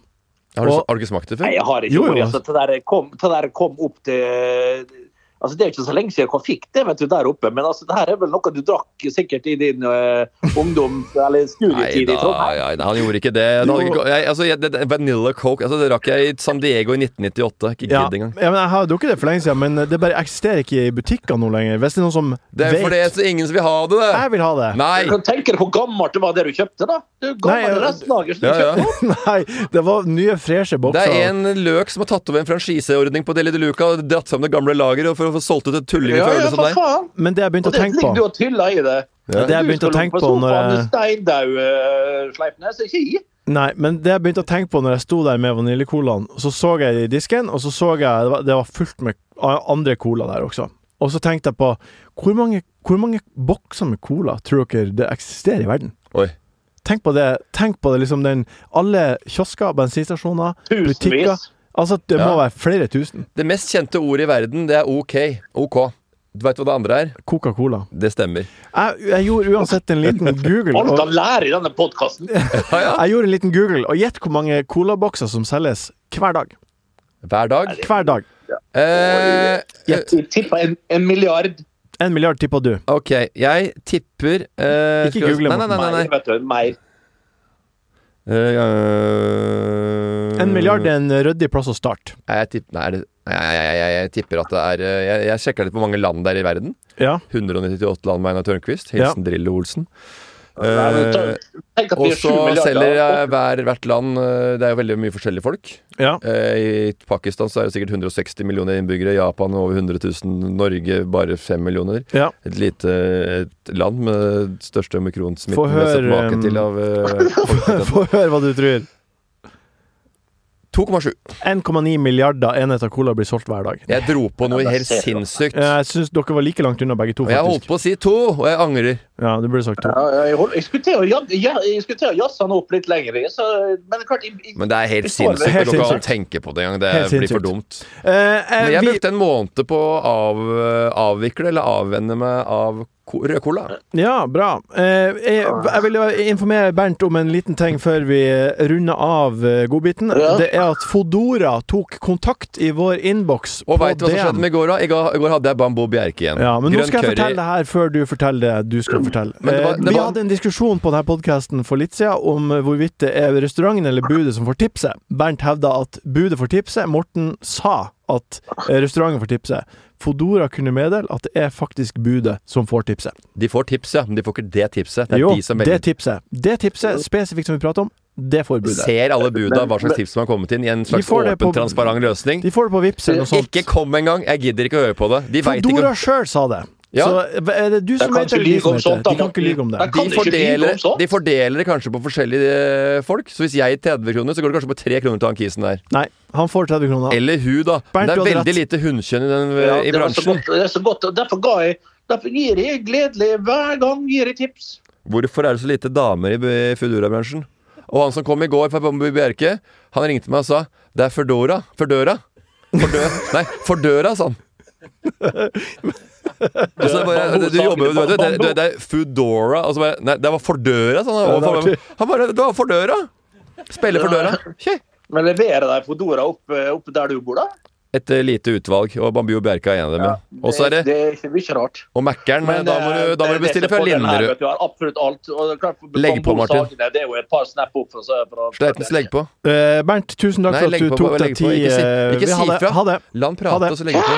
S5: Har du,
S2: Og-
S5: har du ikke smakt det
S9: Nei,
S5: før?
S9: jeg har ikke
S2: Jo, jo,
S9: ord.
S2: altså.
S9: Altså, det, der kom, det der kom opp til Altså, Det er ikke så lenge siden jeg fikk det vet du, der oppe, men altså, det her er vel noe du drakk sikkert i din eh, ungdom eller
S5: Nei
S9: studietid i
S5: da,
S9: Trondheim?
S5: ja, han gjorde ikke det. det, hadde ikke, jeg, altså, jeg, det, det Vanilla Coke altså, Det rakk jeg i San Diego i 1998.
S2: Ja,
S5: Ikke gidd
S2: ja,
S5: engang.
S2: men Jeg har drukket det for lenge siden, men det bare eksisterer ikke i butikker nå lenger. Hvis det er noen som
S5: Det er
S2: vet
S5: fordi så ingen som vil ha det.
S2: Jeg vil ha det.
S9: Du
S5: Nei!
S9: kan tenke deg hvor gammelt det var det du kjøpte, da. Du
S2: Nei,
S9: gammel
S2: ja.
S9: restlager som
S5: Ja,
S9: du
S5: ja.
S9: kjøpte.
S2: Nei, det var nye, freshe
S5: Det
S2: bokser.
S5: er en løk som har tatt over en franchiseordning på Deli de Luca og dratt sammen det gamle lageret for å få solgt ut et tulling i
S9: Ja, ja,
S5: følelse som
S9: for
S5: deg.
S9: faen.
S2: Men det jeg begynte
S9: Og
S2: å
S9: det
S2: tenke
S9: ligger du
S2: på
S9: og tyller i det.
S5: Ja.
S2: Det jeg begynte å tenke på når
S9: jeg Du
S2: jeg-
S9: skal ligge på sofaen med steindau, eh, Sleipnes. Ikke gi.
S2: Nei, men det jeg begynte å tenke på når jeg sto der med vaniljekolaen, så så jeg det i disken, og så så jeg det var, det var fullt med a- andre cola der også. Og så tenkte jeg på hvor mange, hvor mange bokser med cola tror dere det eksisterer i verden?
S5: Oi.
S2: Tenk på det. tenk på det liksom den, Alle kiosker, bensinstasjoner, butikker
S9: Tusenvis.
S2: Altså, det
S5: Ja.
S2: må være flere tusen.
S5: Det mest kjente ordet i verden, det er OK. OK. Du veit hva det andre er?
S2: Coca-Cola.
S5: Det stemmer.
S2: Jeg, jeg gjorde uansett en liten Google.
S9: Alt
S2: og-
S9: kan lære i denne podkasten.
S2: Jeg gjorde en liten Google, og gjett hvor mange colabokser som selges hver dag.
S5: Hver dag.
S2: Hver dag.
S5: Eh,
S9: Tippa en, en milliard.
S2: En milliard tipper du.
S5: ok, jeg tipper eh,
S2: Ikke
S5: skal vi-
S2: google,
S5: Nei, nei, nei. nei,
S9: Mer,
S5: nei.
S9: vet du. Mer.
S5: Eh,
S2: En milliard er en ryddig plass å starte.
S5: Nei, jeg, tipp, nei, er det, nei, jeg, jeg, jeg, jeg tipper at det er eh, Jeg, jeg sjekka litt på mange land der i verden.
S2: Ja.
S5: 198 land med Einar Tørnquist. Hilsen Drillo Olsen.
S9: Nei, men ta-
S5: Eh,
S9: Tenk at vi
S5: og
S9: er sju
S5: så selger
S9: milliarder.
S5: jeg hver, hvert land eh, Det er jo veldig mye forskjellige folk.
S2: Ja.
S5: Eh, I Pakistan så er det sikkert 160 millioner innbyggere. Japan over 100 000. Norge bare 5 millioner.
S2: Ja.
S5: Et lite et land med største mikronsmitten
S2: Få
S5: vi har sett
S2: høre,
S5: maken
S2: um,
S5: til av eh, folketettheten.
S2: Få høre hva du tror.
S5: 2,7.
S2: 1,9 milliarder enheter cola blir solgt hver dag. Eh,
S5: Jeg dro på noe
S9: Ja, der
S5: helt
S9: ser du.
S5: sinnssykt.
S2: Jeg syns dere var like langt unna begge to,
S5: Og jeg holdt
S2: faktisk.
S5: på å si to, og jeg angrer.
S2: Ja, du burde sagt to.
S9: Ja, ja, jeg, hold, jeg skulle til å jag- ja, jeg skulle til å jazze han opp litt lenger, jeg, så, men klart jeg, jeg,
S5: Men det er helt
S9: Vi står-
S5: sinnssykt.
S2: Helt
S5: Det går ikke an å
S2: sinnssykt.
S5: tenke på det engang. Det
S2: Helt
S5: blir
S2: sinnssykt.
S5: for dumt. Men
S2: Eh, eh,
S5: jeg
S2: vi,
S5: brukte en måned på å av, eh, avvikle eller avvenne meg av ko- rød cola.
S2: ja, bra. Eh, jeg, jeg vil jo informere Bernt om en liten ting før vi eh, runder av eh, godbiten.
S9: Ja.
S2: Det er at Fodora tok kontakt i vår innboks på
S5: Og veit du hva som
S2: DM.
S5: skjedde med i går, da? I går, i går hadde jeg Bambo Bjerke igjen.
S2: Ja, men nå skal jeg fortelle det her før du forteller det du skal fortelle.
S5: Men det var-
S2: Eh,
S5: det
S2: Vi
S5: var-
S2: hadde en diskusjon på denne podkasten for litt siden om eh, hvorvidt det er restauranten eller budet som får tipset. Bernt hevda at budet får tipset. Morten sa at eh, restauranten får tipset. Fodora kunne meddele at det er faktisk budet som får tipset.
S5: De får tips, ja, men de får ikke det tipset. Det er
S2: jo,
S5: de som
S2: det
S5: velger.
S2: tipset. Det tipset spesifikt som vi prater om, det får budet.
S5: Ser alle buda hva slags tips som har kommet inn, i en slags
S2: får
S5: åpen,
S2: det på-
S5: transparent løsning?
S2: De får det på Vipps eller noe sånt.
S5: Ikke kom engang! Jeg gidder ikke å høre på det. De veit ikke
S2: Fodora sjøl sa det.
S5: Ja.
S2: Så er det du som
S9: kan
S2: vet,
S9: ikke
S2: eller de
S9: lyge
S2: som
S9: om
S2: vet
S9: sånt,
S2: det?
S9: da,
S2: De kan ikke
S9: Morten.
S2: lyge om det.
S9: Jeg
S5: De
S9: kan ikke lyve
S5: fordeler,
S9: om sånt.
S5: de fordeler det kanskje på forskjellige eh, folk. Så hvis jeg 30 kroner, så går det kanskje på 3 kroner til han kisen der.
S2: Nei, han får 30 kroner.
S5: Eller hun, da.
S2: Bernt,
S5: Men det
S2: du
S5: er
S2: hadde
S5: veldig
S2: rett.
S5: lite hunnkjønn i, den, eh,
S9: Ja,
S5: i
S9: det var så
S5: bransjen.
S9: godt. Det er så godt, og derfor ga jeg Derfor gir jeg gledelig hver gang gir jeg tips.
S5: Hvorfor er det så lite damer i b- Foodora-bransjen? Og han som kom i går fra Bambu Bjerke, han ringte meg og sa det er Fordora. Fordøra. Fordø Nei, Fordøra, sa han. Og så bare, du, du jobber jo du vet jo, det, det, det er Foodora og så bare, Nei, det var Fordøra, sa han.
S2: Ja, det er artig.
S5: Han bare Det var Fordøra! Spiller for døra. Kjei.
S9: Men leverer de Fodora opp, eh, opp der du bor, da?
S5: Et eh, lite utvalg, og Bambu og Bjerke er en av dem. Ja. Og så er det
S9: Det er ikke mye rart.
S5: Og Mækkern,
S9: Men,
S5: da må
S9: eh,
S5: du, da må
S9: det-
S5: du bestille
S9: det
S5: fra
S9: som er fordelen her, vet
S5: Linderud.
S9: du, er Absolutt alt. Og det er klart,
S5: Legg på, Martin.
S9: Bambusakene, Det er jo et par snap opp. fra- fra-
S5: Sleipnes, legg på.
S2: Eh, Bernt, tusen takk
S5: Nei,
S2: for at
S5: legg
S2: du
S5: på,
S2: tok
S5: bare
S2: deg
S5: legg på.
S2: tid.
S5: Ikke si-
S2: eh,
S5: ikke
S2: vi- ha
S5: si
S2: det.
S5: fra.
S2: Ha det.
S5: La han
S2: Ha
S5: prate,
S2: det.
S5: og så legger vi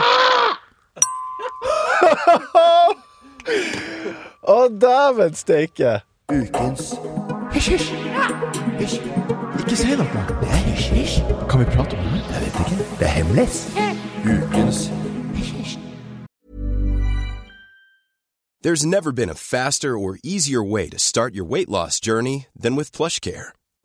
S5: på.
S2: Å, dæven steike! Ikke si noe. Kan vi prate om det? Jeg vet ikke. Det er hemmelig.
S8: There's never been a faster or easier way to start your weight loss journey than with PlushCare.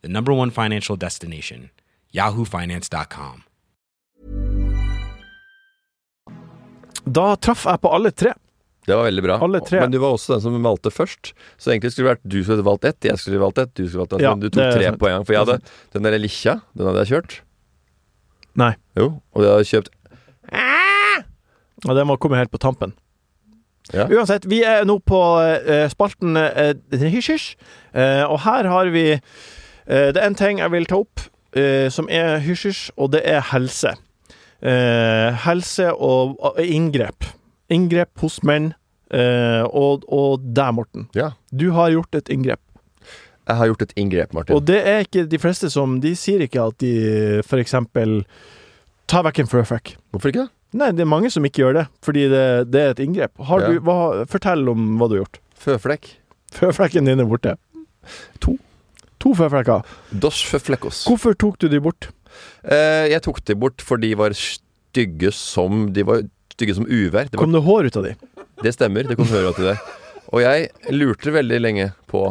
S10: the number one financial destination, yahoofinance.com.
S2: Da traff jeg på alle tre.
S5: Det var veldig bra.
S2: Alle tre.
S5: Men du var også den som valgte først. Så egentlig skulle det vært du som hadde valgt ett, jeg skulle valgt ett, du skulle valgt ett.
S2: Ja,
S5: men du
S2: det er
S5: tok tre
S2: sant.
S5: på en gang. For jeg
S2: Det er
S5: hadde den der likkja, den hadde jeg kjørt.
S2: Nei.
S5: Jo, og jeg hadde kjøpt
S2: Og det må komme helt på tampen.
S5: Ja.
S2: Uansett, vi er nå på eh, spalten eh, Hysj, hysj. Eh, og her har vi eh, Det er en ting jeg vil ta opp, eh, som er hysj, hysj, og det er helse. Eh, helse og, og inngrep. Inngrep hos menn. eh, og, og deg, Morten.
S5: Ja.
S2: Du har gjort et inngrep.
S5: Jeg har gjort et inngrep, Martin.
S2: Og det er ikke de fleste som De sier ikke at de f.eks. tar vekk en furfuck.
S5: Hvorfor ikke?
S2: Nei, det er mange som ikke gjør det, fordi det, det er et inngrep. Har
S5: Ja.
S2: du, hva, fortell om hva du har gjort.
S5: Føflekk.
S2: Føflekken din er borte. To. To føflekker.
S5: Dos føflekkos.
S2: Hvorfor tok du de bort?
S5: Eh, jeg tok de bort, for de var stygge som De var stygge som uvær. Det, var,
S2: Kom det hår ut av de?
S5: det stemmer, det kom høra til det. Og jeg lurte veldig lenge på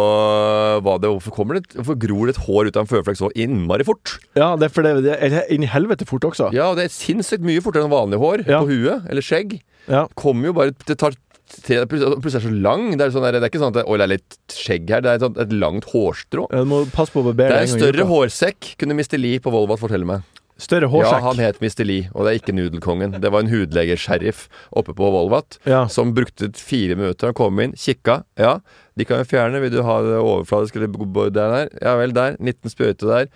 S5: og, hva det, hvorfor, kommer det, hvorfor gror det et hår ut av en føflekk så innmari fort?
S2: Ja, det er for det, det er inn i helvete fort også.
S5: Ja, og det er sinnssykt mye fortere enn vanlig hår
S2: Ja.
S5: på huet, eller skjegg.
S2: Ja.
S5: Kommer jo bare Det tar tre Plutselig plutselig er det så lang. Det er, sånn der, det er ikke sånn at det, Oi, det er litt skjegg her. Det er et, sånt, et langt hårstrå.
S2: Ja, Du må passe på å barbere
S5: Det
S2: en
S5: er en
S2: gang i
S5: større
S2: uka.
S5: hårsekk, kunne Mr. Lee på Volvat fortelle meg.
S2: Større
S5: Ja,
S2: hårsekk.
S5: han het Mr. Lee, og det er ikke Nudelkongen. Det var en hudleger-sheriff oppe på Volvat
S2: Ja.
S5: som brukte fire minutter. Han kom inn, kikka. Ja, de kan jo fjerne. Vil du ha det overfladisk eller bo- bo- der, der? Ja vel, der. 19 sprøyter der.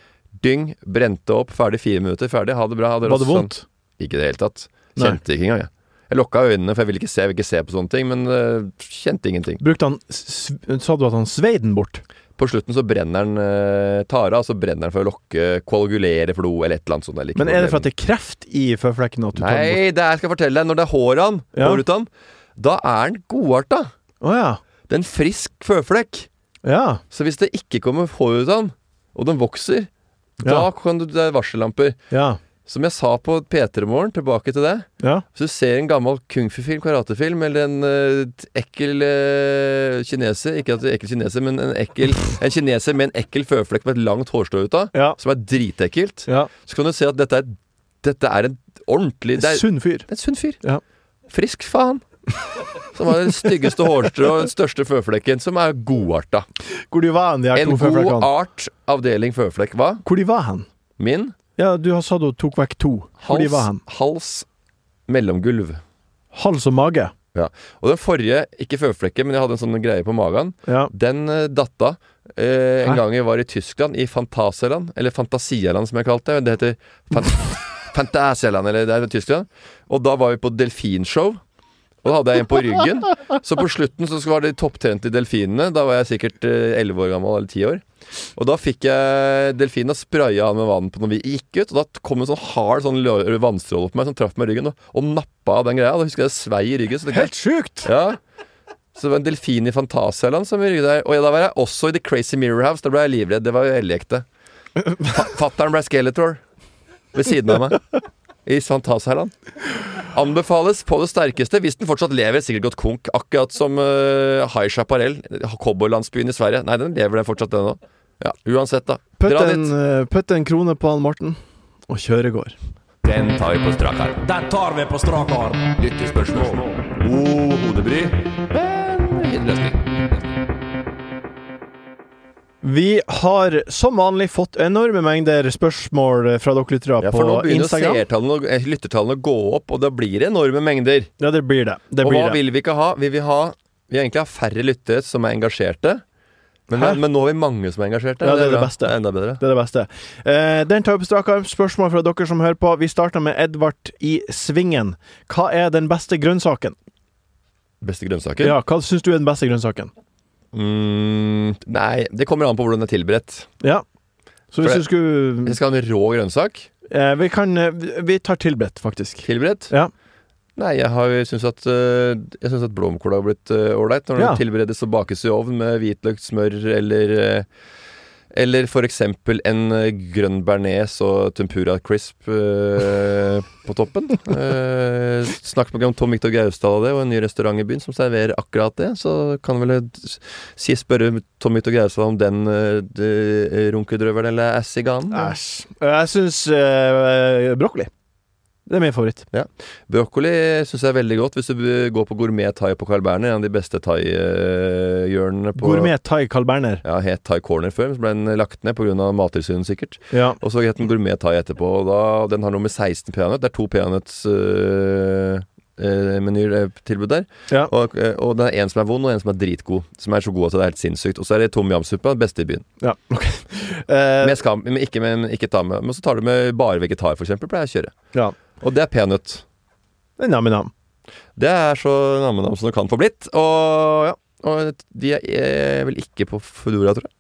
S5: Dyng. Brente opp. Ferdig fire minutter. Ferdig. Ha det bra. Ha det
S2: Var det
S5: raskt. Sånn.
S2: vondt?
S5: Ikke i det hele tatt.
S2: Nei.
S5: Kjente ikke engang, jeg. Jeg lukka øynene, for jeg ville ikke se, jeg vil ikke se på sånne ting, men øh, kjente ingenting.
S2: Brukte han s- s- Sa du at han svei den bort?
S5: På slutten så brenner han øh, tara, altså brenner han for å lokke, koagulere blod eller et eller annet sånt. eller ikke
S2: Men er det for at
S5: koagulering.
S2: det er kreft i føflekken at du tar den bort?
S5: Nei, det er, jeg skal fortelle deg, når det er håret han
S2: Ja.
S5: går ut av, da er han godarta.
S2: Å ja.
S5: Det er en frisk føflekk.
S2: Ja.
S5: Så hvis det ikke kommer hår ut av han, og den vokser, da
S2: Ja.
S5: kan du, det er varsellamper.
S2: Ja.
S5: Som jeg sa på P3 Morgen, tilbake til det.
S2: ja.
S5: Hvis du ser en gammel kung fu-film, karatefilm, eller en eh, ekkel eh, kineser Ikke at det er ekkel kineser, men en, ekkel, en kineser med en ekkel føflekk med et langt hårstrå ut av,
S2: Ja.
S5: som er dritekkelt,
S2: ja.
S5: så kan du se at dette er, dette er en ordentlig Det er,
S2: Sunn fyr.
S5: det er en sunn fyr.
S2: Ja.
S5: Frisk faen. Som har det styggeste hårstrået og den største føflekken, som er godarta.
S2: Hvor de var hen, de her to
S5: en god
S2: føflekkene?
S5: art avdeling føflekk. Hva?
S2: Hvor de var hen?
S5: Min?
S2: Ja, du har sagt du tok vekk to. Hvor de var hen?
S5: Hals, hals mellomgulv.
S2: Hals og mage.
S5: Ja. Og den forrige, ikke føflekken, men jeg hadde en sånn greie på magen,
S2: Ja.
S5: den eh, datta eh, en
S2: Hæ?
S5: gang jeg var i Tyskland, i Fantaseland, eller Fantasialand som jeg kalte det. Det heter fan Fantasialand, eller det er i Tyskland. Og da var vi på delfinshow. Og da hadde jeg en på ryggen. Så på slutten så var de topptrent i delfinene. Da var jeg sikkert eh, elleve år gammel, eller ti år. Og da fikk jeg delfinen og spraya han med vann på når vi gikk ut. Og da kom en sånn hard sånn lø- vannstråle på meg som traff meg i ryggen, og, og nappa av den greia. Da husker jeg det svei i ryggen. Så det
S2: Helt sjukt!
S5: ja. Så det var en delfin i Fantasialand som rygget der. Og ja, da var jeg også i The Crazy Mirror House. Da ble jeg livredd. Det var jo veldig ekte. Fa- Fatteren ble Skeletor ved siden av meg. I Fantasialand. Anbefales på det sterkeste hvis den fortsatt lever. Sikkert gått konk. Akkurat som eh, High Chaparell, cowboylandsbyen i Sverige. Nei, den lever den fortsatt, den òg. Ja, uansett, da.
S2: Putt
S5: Dra
S2: en,
S5: dit.
S2: eh, putt en krone på han Morten, og kjøregård.
S5: Den tar vi på strak arm.
S4: Den tar vi på strak arm.
S5: Lyttespørsmål. God hodebry. Men løsning.
S2: Vi har som vanlig fått enorme mengder spørsmål eh, fra dere lyttere
S5: Ja,
S2: på
S5: for nå begynner
S2: Instagram.
S5: seertallene og eh, lyttertallene å gå opp, og da blir det enorme mengder.
S2: Ja, det blir det. det,
S5: og
S2: blir
S5: hva
S2: det.
S5: vil vi ikke ha? Vi vil ha Vi vil egentlig ha færre lyttere som er engasjerte. Men,
S2: Hæ?
S5: men nå har vi mange som er engasjerte.
S2: Ja, det er det
S5: bra.
S2: beste.
S5: Det er enda bedre.
S2: Det er det beste. Eh, den tar vi på strak arm. Spørsmål fra dere som hører på. Vi starter med Edvard i Svingen. Hva er den beste grønnsaken?
S5: Beste grønnsaker?
S2: Ja, hva syns du er den beste grønnsaken?
S5: Mm, nei, det kommer an på hvordan det er tilberedt.
S2: Ja. Så hvis du
S5: For
S2: skulle
S5: Hvis jeg skal ha en rå grønnsak
S2: eh, Vi kan eh, vi- Vi tar tilberedt, faktisk.
S5: tilberedt
S2: Ja.
S5: Nei, jeg har syns at, øh, jeg synes at blomkål har blitt øh, ålreit. Når
S2: Ja.
S5: den tilberedes og bakes i ovn med hvitløk, smør eller øh, Eller for eksempel en øh, grønn bearnés og tempura crisp øh, på toppen. Eh, snakk med om Tom Victor Gaustad og det, og en ny restaurant i byen som serverer akkurat det. Så kan vel jeg si, spørre Tom Victor Gaustad om den øh, de- runkedrøveren eller assiganen.
S2: Æsj. Eh, Jeg syns eh, brokkoli. Det er min favoritt.
S5: Brokkoli syns jeg er veldig godt. Hvis du b- går på gourmet thai på Carl Berner, en av de beste thai-hjørnene på
S2: Gourmet thai Carl Berner.
S5: Ja, het Thai Corner før, men så ble den lagt ned pga. Mattilsynet, sikkert.
S2: Ja.
S5: Og så het den Gourmet Thai etterpå. Og da, den har nummer 16 peanøtt. Det er to øh, peanøttmenyer-tilbud øh, der.
S2: Ja.
S5: Og, øh, og det er en som er vond, og en som er dritgod. Som er så god at det er helt sinnssykt. Og så er det tom yam-suppa, beste i byen.
S2: ja. Ok. Eh,
S5: Med skam, men ikke, men ikke ta med. Men så tar du med bare vegetar, for eksempel, pleier jeg å kjøre.
S2: ja.
S5: Og det er peanøtt.
S2: Nam-nam.
S5: Det er så nammenam som det kan få blitt. Og ja, og de er, er vel ikke på Foodora, tror jeg.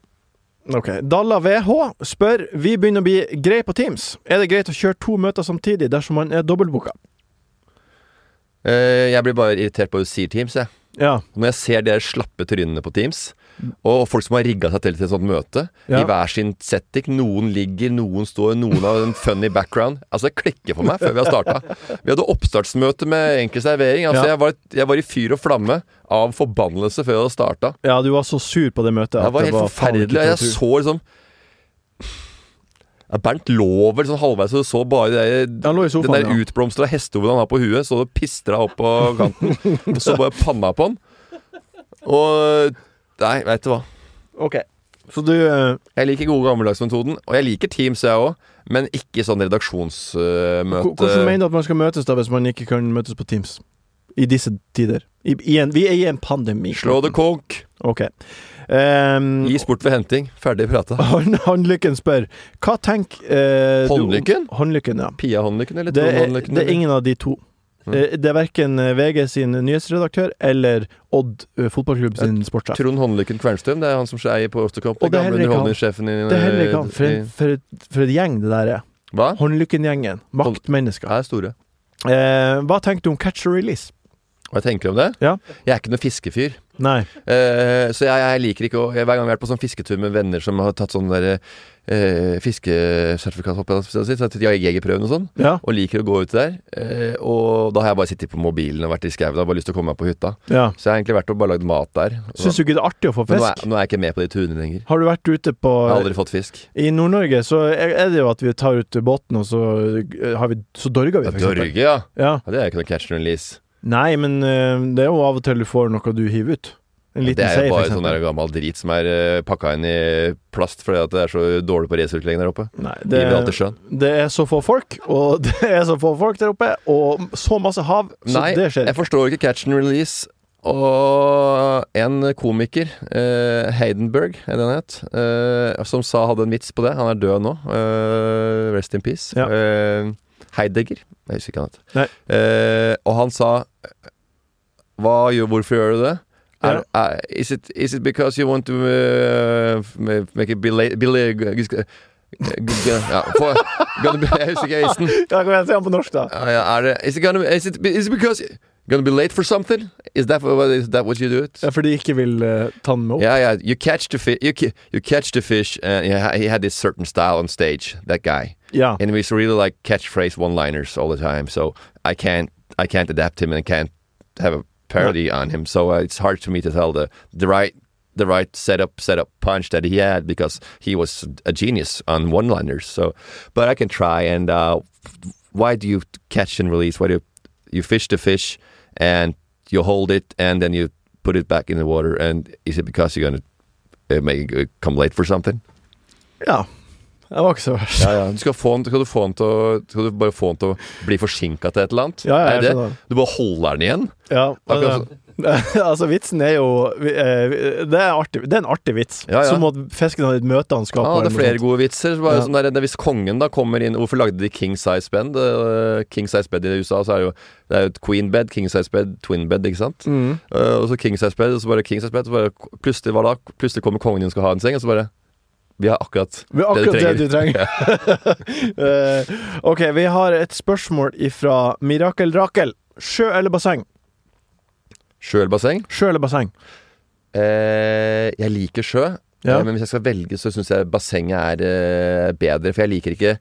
S2: Ok. Dalla VH spør Vi begynner å bli greie på Teams. Er det greit å kjøre to møter samtidig dersom man er dobbeltbooka?
S5: Eh, Jeg blir bare irritert på at du sier Teams. Jeg.
S2: Ja.
S5: Når jeg ser dere slappe trynene på Teams, og folk som har rigga seg til til et sånt møte,
S2: Ja.
S5: i hver sin setting Noen ligger, noen står, noen har en funny background. Altså, det klikker for meg før vi har starta. Vi hadde oppstartsmøte med Enkel servering. Altså,
S2: Ja.
S5: jeg, var, jeg var i fyr og flamme av forbannelse før vi hadde starta.
S2: Ja, du var så sur på det møtet. at
S5: Det var helt
S2: faen ikke
S5: forferdelig. og Jeg
S2: litteratur.
S5: så liksom ja, Bernt lå vel sånn halvveis og så bare det der,
S2: Han lå i sofaen,
S5: den der
S2: ja.
S5: utblomstra hestehodet han har på huet. Så det pistra opp på kanten. og så bare panna på han. Og Nei, veit du hva.
S2: Ok. Så du eh,
S5: Jeg liker gode gammeldagsmetoden, og jeg liker Teams, jeg òg. Men ikke sånn
S2: hvor-
S5: redaksjonsmøte.
S2: Hvordan mener du at man skal møtes da hvis man ikke kan møtes på Teams? I disse tider. I, i en, vi er i en pandemi.
S5: Slå det konk.
S2: Ok. Ehm,
S5: Gi sport ved henting. Ferdig prata.
S2: han, Håndlykken spør Hva tenker eh, du om-
S5: Håndlykken?
S2: Håndlykken, ja.
S5: Pia Håndlykken eller
S2: Det
S5: Trond
S2: er,
S5: Håndlykken?
S2: det er ingen av de to.
S5: Mm.
S2: Eh, Det er verken VG sin nyhetsredaktør eller Odd eh, fotballklubb sin sportssjef.
S5: Trond Håndlykken Kvernstrøm, det er han som eier på Osterkamp.
S2: Og det er
S5: gamle
S2: heller ikke han.
S5: underholdningssjefen i
S2: Det er heller ikke han. For,
S5: i-
S2: en, for, et, for et gjeng det der er.
S5: Hva?
S2: Håndlykken-gjengen. Maktmennesker.
S5: er store.
S2: Eh, hva tenker du om catch and release?
S5: Hva jeg tenker om det?
S2: Ja.
S5: Jeg er ikke noen fiskefyr.
S2: Nei.
S5: Eh, så jeg, jeg liker ikke å jeg, Hver gang jeg har vært på sånn fisketur med venner som har tatt sånn der eh, fiskesertifikat, håper jeg det er å si, så jeg har jegerprøven og sånn,
S2: Ja.
S5: og liker å gå ut der. eh, og da har jeg bare sittet på mobilen og vært i skauen og bare lyst til å komme meg på hytta.
S2: ja.
S5: Så jeg har egentlig vært og bare lagd mat der.
S2: Syns du ikke det er artig å få
S5: Men nå er,
S2: fisk?
S5: nå er jeg ikke med på de turene lenger.
S2: Har du vært ute på
S5: Jeg har aldri fått fisk.
S2: I Nord-Norge så er er det jo at vi tar ut båten, og så, eh, har vi, så dorger vi,
S5: Ja,
S2: for
S5: Dørge,
S2: eksempel.
S5: ja.
S2: Ja.
S5: ja! Det er jo ikke noe catch and release.
S2: Nei, men eh, det er jo av og til du får noe du hiver ut. En
S5: Ja,
S2: liten
S5: det er
S2: sei,
S5: jo
S2: for
S5: bare sånn der
S2: eksempel.
S5: gammel drit som er eh, pakka inn i plast fordi at det er så dårlig på resirkulering der oppe.
S2: Nei,
S5: det... Gir vi alt til sjøen.
S2: det er så få folk, og det er så få folk der oppe, og så masse hav, så
S5: Nei,
S2: det skjer.
S5: jeg forstår ikke catch and release. Og en komiker, eh, Heidenberg, er det han het, eh, som sa hadde en vits på det. Han er død nå. Eh, rest in peace. Eh, Heidegger. Jeg husker ikke han
S2: Nei.
S5: het. Eh, og han sa Hva, gjør- Hvorfor gjør du det? Er, er, is, it, is it because you want to uh, make it bela- bela- ja, for, gonna be, Jeg husker ikke heisen.
S2: Ja, Kom igjen, si han på norsk, da.
S5: Ja, ja, er det Is it gonna Is it, is it because Gonna be late for something? Is that, what- is that what you do it?
S2: Ja, for de ikke vil eh, ta den med opp.
S5: Yeah, yeah. You catch the fish. You, ca- you catch the fish, and he ha- he had this certain style on stage. That guy.
S2: Yeah.
S5: And he was really like catchphrase one-liners all the time. So I can't, I can't adapt him, and I can't have a parody on him. So uh, it's hard to me to tell the the right the right setup setup punch that he had because he was a genius on one-liners. So, but I can try. And uh, why do you catch and release? Why do you, you fish the fish and you hold it and then you put it back in the water? And is it because you're gonna uh, make it come late for something?
S2: Ja. Det var ikke så verst.
S5: Ja, ja. Du skal, få den, skal, du få den til å, skal du bare få den til å bli forsinka til et eller annet?
S2: Ja, ja,
S5: er
S2: jeg
S5: det
S2: skjønner.
S5: det? Du bare holder den igjen?
S2: Ja, og
S5: Akkurat
S2: det, altså Vitsen er jo eh, Det er, artig, det er en artig vits.
S5: Ja, ja.
S2: Som at fisken hadde et møte han skal
S5: Ja,
S2: på.
S5: Ah,
S2: eller
S5: det er
S2: noe
S5: flere
S2: sånt.
S5: gode vitser. Bare
S2: Ja.
S5: sånn der, hvis kongen da kommer inn Hvorfor lagde de king size bed? Eh, King size bed i USA, så er det jo Det er jo et queen bed, king size bed, twin bed, ikke sant?
S2: Mm.
S5: Eh, og så king size bed, og så bare king size bed, så bare plutselig, hva da? plutselig kommer kongen inn og skal ha en seng, og så bare Vi har akkurat,
S2: Vi har akkurat det du trenger.
S5: Ja.
S2: Eh, ok, vi har et spørsmål ifra Mirakel Rakel. Sjø eller basseng?
S5: Sjø eller basseng?
S2: Sjø eller basseng?
S5: Eh, jeg liker sjø,
S2: Ja.
S5: eh, men hvis jeg skal velge, så syns jeg bassenget er eh, bedre. For jeg liker ikke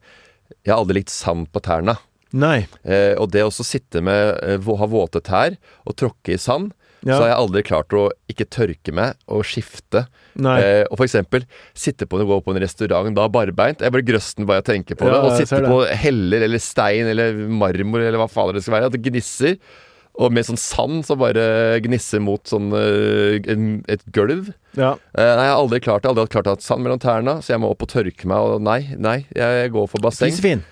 S5: Jeg har aldri likt sand på tærne.
S2: Nei.
S5: Eh, og det å så sitte med eh, vå- ha våte tær og tråkke i sand,
S2: Ja.
S5: så har jeg aldri klart å ikke tørke meg og skifte.
S2: Nei.
S5: Eh, og for eksempel sitte på gå på en restaurant da barbeint. Jeg blir grøsten bare jeg tenker på
S2: Ja,
S5: det. Og
S2: jeg
S5: sitte
S2: ser det.
S5: på heller eller stein eller marmor eller hva fader det skal være. At det gnisser. Og med sånn sand som bare gnisser mot sånn eh, en- et gulv.
S2: Ja.
S5: Eh, nei, Jeg har aldri klart det. Jeg har aldri klart å ha sand mellom tærne, så jeg må opp og tørke meg. Og nei, nei, jeg går for basseng.
S2: Fisefin.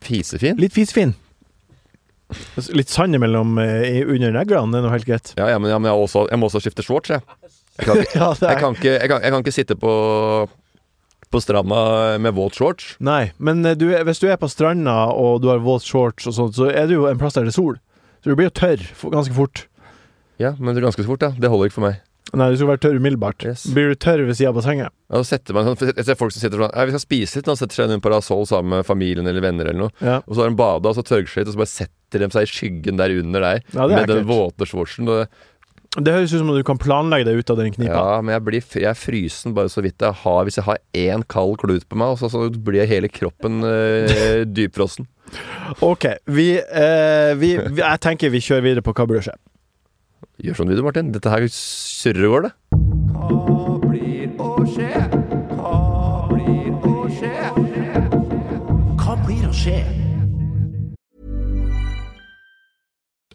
S5: Fisefin?
S2: Litt fisefin. Litt sand imellom eh, i- under neglene, det er nå helt greit.
S5: Ja, ja, men, ja, men jeg, har også, jeg må også skifte shorts, jeg. Jeg kan ikke,
S2: Ja, det er-
S5: jeg kan ikke, jeg kan, jeg kan ikke sitte på, på stranda med våt shorts.
S2: Nei, men eh, du, er- hvis du er på stranda og du har våt shorts og sånt, så er det jo en plass der det er sol. Så du blir jo tørr f- ganske fort.
S5: Ja, men det er ganske så fort, ja. Det holder ikke for meg.
S2: Nei, du skal være tørr umiddelbart.
S5: Yes.
S2: Blir du tørr ved sida av bassenget?
S5: Jeg setter meg, sånn- for jeg ser folk som sitter sånn «Nei, Vi skal spise litt, og setter seg under en parasoll sammen med familien eller venner. eller noe
S2: Ja.
S5: Og så har de bada og så tørker seg litt, og så bare setter de seg i skyggen der under der
S2: Ja, det er
S5: med den
S2: ekkelt.
S5: våte shortsen. og det-
S2: Det høres ut som om du kan planlegge deg ut av den knipa.
S5: Ja, men jeg, blir, fr- jeg er frysen bare så vidt jeg har Hvis jeg har én kald klut på meg, så, så blir hele kroppen eh, dypfrossen.
S2: Ok, vi, eh, vi, vi Jeg tenker vi kjører videre på hva burde skje.
S5: Gjør sånn, du, Martin. Dette her surrer går, det.
S4: Hva blir å skje?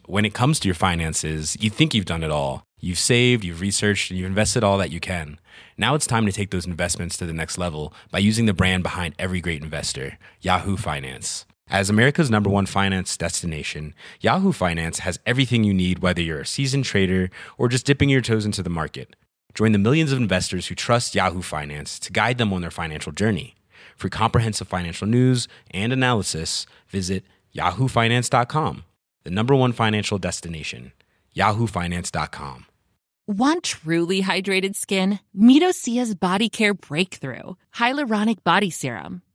S10: When it comes to your finances, you think you've done it all. You've saved, you've researched, and you've invested all that you can. Now it's time to take those investments to the next level by using the brand behind every great investor, Yahoo Finance. As America's number one finance destination, Yahoo Finance has everything you need, whether you're a seasoned trader or just dipping your toes into the market. Join the millions of investors who trust Yahoo Finance to guide them on their financial journey. For comprehensive financial news and analysis, visit yahoofinance.com, the number one financial destination, yahoofinance.com.
S11: Want truly hydrated skin? Meet Osea's body care breakthrough, Hyaluronic Body Serum.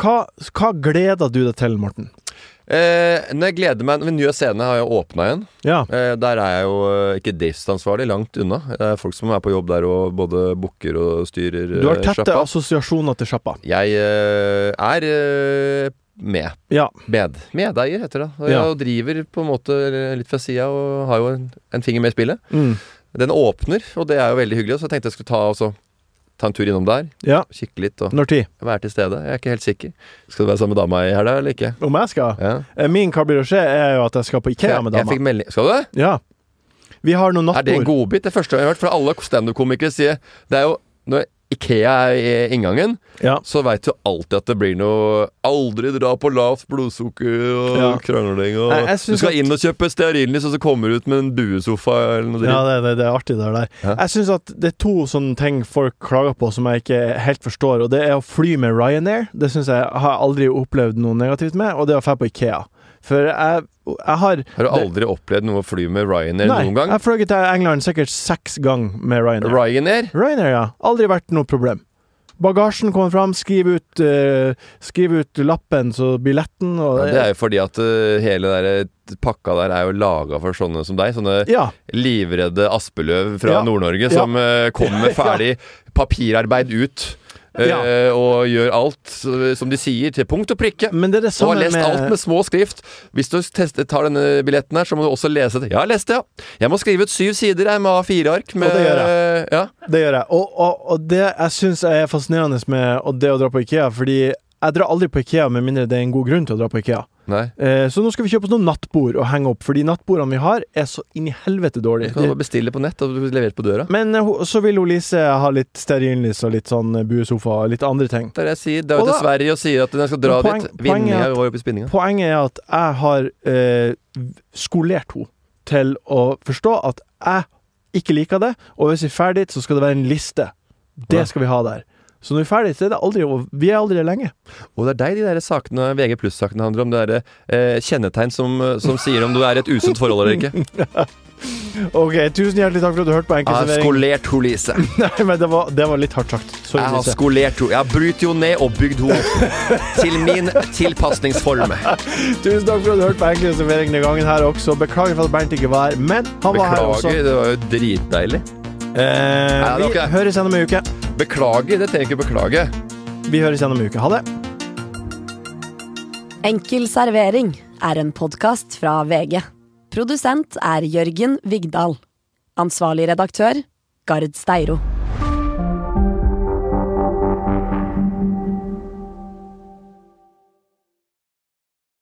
S2: Hva, hva gleder du deg til, Morten?
S5: Eh, når jeg gleder meg Ved nye scene har jeg åpna igjen. Eh, der er jeg jo eh, ikke driftsansvarlig, langt unna. Det er folk som er på jobb der og både booker og styrer
S2: Du har
S5: eh,
S2: tette
S5: sjappa.
S2: assosiasjoner til sjappa.
S5: Jeg eh, er eh, med.
S2: Ja.
S5: Med. Medeier, heter det. Og jeg
S2: Ja.
S5: driver på en måte litt fra sida og har jo en, en finger med i spillet.
S2: Mm.
S5: Den åpner, og det er jo veldig hyggelig. Så jeg tenkte jeg skulle ta, også, ta en tur innom der.
S2: Ja.
S5: Kikke litt og
S2: Når tid?
S5: være til stede. Jeg er ikke helt sikker. Skal du være sammen med dama i helga eller ikke?
S2: Om jeg skal?
S5: Ja.
S2: Eh, Min hva blir å skje, er jo at jeg skal på Ikea med
S5: Jeg, jeg
S2: dama.
S5: fikk melding Skal du det?
S2: Ja. Vi har noen
S5: Er det en
S2: nattbord.
S5: godbit? Det første jeg har hørt fra alle standup-komikere sier Det er jo Når Ikea er i inngangen, så veit du alltid at det blir noe Aldri dra på lavt blodsukker og
S2: Ja.
S5: krangling og
S2: Nei, jeg
S5: Du
S2: synes
S5: skal
S2: at-
S5: inn og kjøpe stearinlys, og så kommer du ut med en buesofa eller noe
S2: Ja, det,
S5: dritt.
S2: det, det er artig det der. Jeg syns at det er to sånne ting folk klager på som jeg ikke helt forstår, og det er å fly med Ryanair. Det syns jeg har jeg aldri opplevd noe negativt med, og det å dra på Ikea. For jeg, jeg har
S5: Har du aldri opplevd noe å fly med Ryanair
S2: Nei,
S5: noen gang?
S2: jeg har fløyet til England sikkert seks ganger med Ryanair.
S5: Ryanair?
S2: Ryanair, ja. Aldri vært noe problem. Bagasjen kommer fram, skriv ut, eh, skriv ut lappen, så billetten og
S5: Ja, det er jo fordi at eh, hele der pakka der er jo laga for sånne som deg. Sånne
S2: Ja.
S5: livredde Aspeløv fra
S2: Ja.
S5: Nord-Norge
S2: Ja.
S5: som eh, kommer med ferdig papirarbeid ut. eh, Og gjør alt eh, som de sier, til punkt og prikke. og
S2: samme
S5: har lest
S2: Sånn med-
S5: alt med små skrift. Hvis du tester, tar denne billetten her, så må du også lese det. Ja, jeg leste, ja. Jeg må skrive ut syv sider jeg, med A4-ark.
S2: Og det gjør
S5: jeg. Ja.
S2: Det gjør jeg. Og, og, og det jeg syns er fascinerende med og det å dra på Ikea, fordi jeg drar aldri på Ikea med mindre det er en god grunn til å dra på Ikea.
S5: Nei.
S2: Eh, Så nå skal vi kjøpe oss noen nattbord og henge opp, for de nattbordene vi har, er så inn i helvete
S5: Du
S2: dårlige. Eh,
S5: kan bare bestille på nett og levere på døra.
S2: Men eh, ho- så vil hun Lise ha litt stearinlys og litt sånn eh, buesofa og litt andre ting.
S5: Det er det jeg sier. Det er
S2: Og
S5: jo til
S2: da-
S5: Sverige og sier at den skal dra
S2: Men poeng-
S5: dit.
S2: poenget er
S5: Vinninga
S2: at-
S5: går opp i spinninga.
S2: Poenget er at jeg har eh, skolert henne til å forstå at jeg ikke liker det, og hvis vi er ferdig, så skal det være en liste. Det skal vi ha der. Så når vi er ferdig, så er det aldri over. Vi er aldri der lenge.
S5: Og det er deg de der sakene, VG pluss-sakene handler om. Det derre eh, kjennetegn som, som sier om du er i et usunt forhold eller ikke.
S2: Ok, tusen hjertelig takk for at du hørte på
S5: Jeg har
S2: Enkeltservering.
S5: skolert ho, Lise.
S2: Nei, men det var, det var litt hardt sagt. Sorry,
S5: Jeg har
S2: Lise.
S5: skolert ho. Jeg har brytt ho ned og bygd ho opp til min tilpasningsform.
S2: Tusen takk for at du hørte på Enkeltservering denne gangen her også. Beklager for at Bernt ikke var her, men han var her også. Eh,
S5: Beklager, det var jo dritdeilig. Nei, det var
S2: vi
S5: ikke det.
S2: høres gjennom ei uke.
S5: Beklager, det trenger jeg ikke beklage.
S2: Vi høres gjennom ei uke. Ha det.
S1: Enkel servering er en podkast fra VG. Produsent er Jørgen Vigdal. Ansvarlig redaktør Gard Steiro.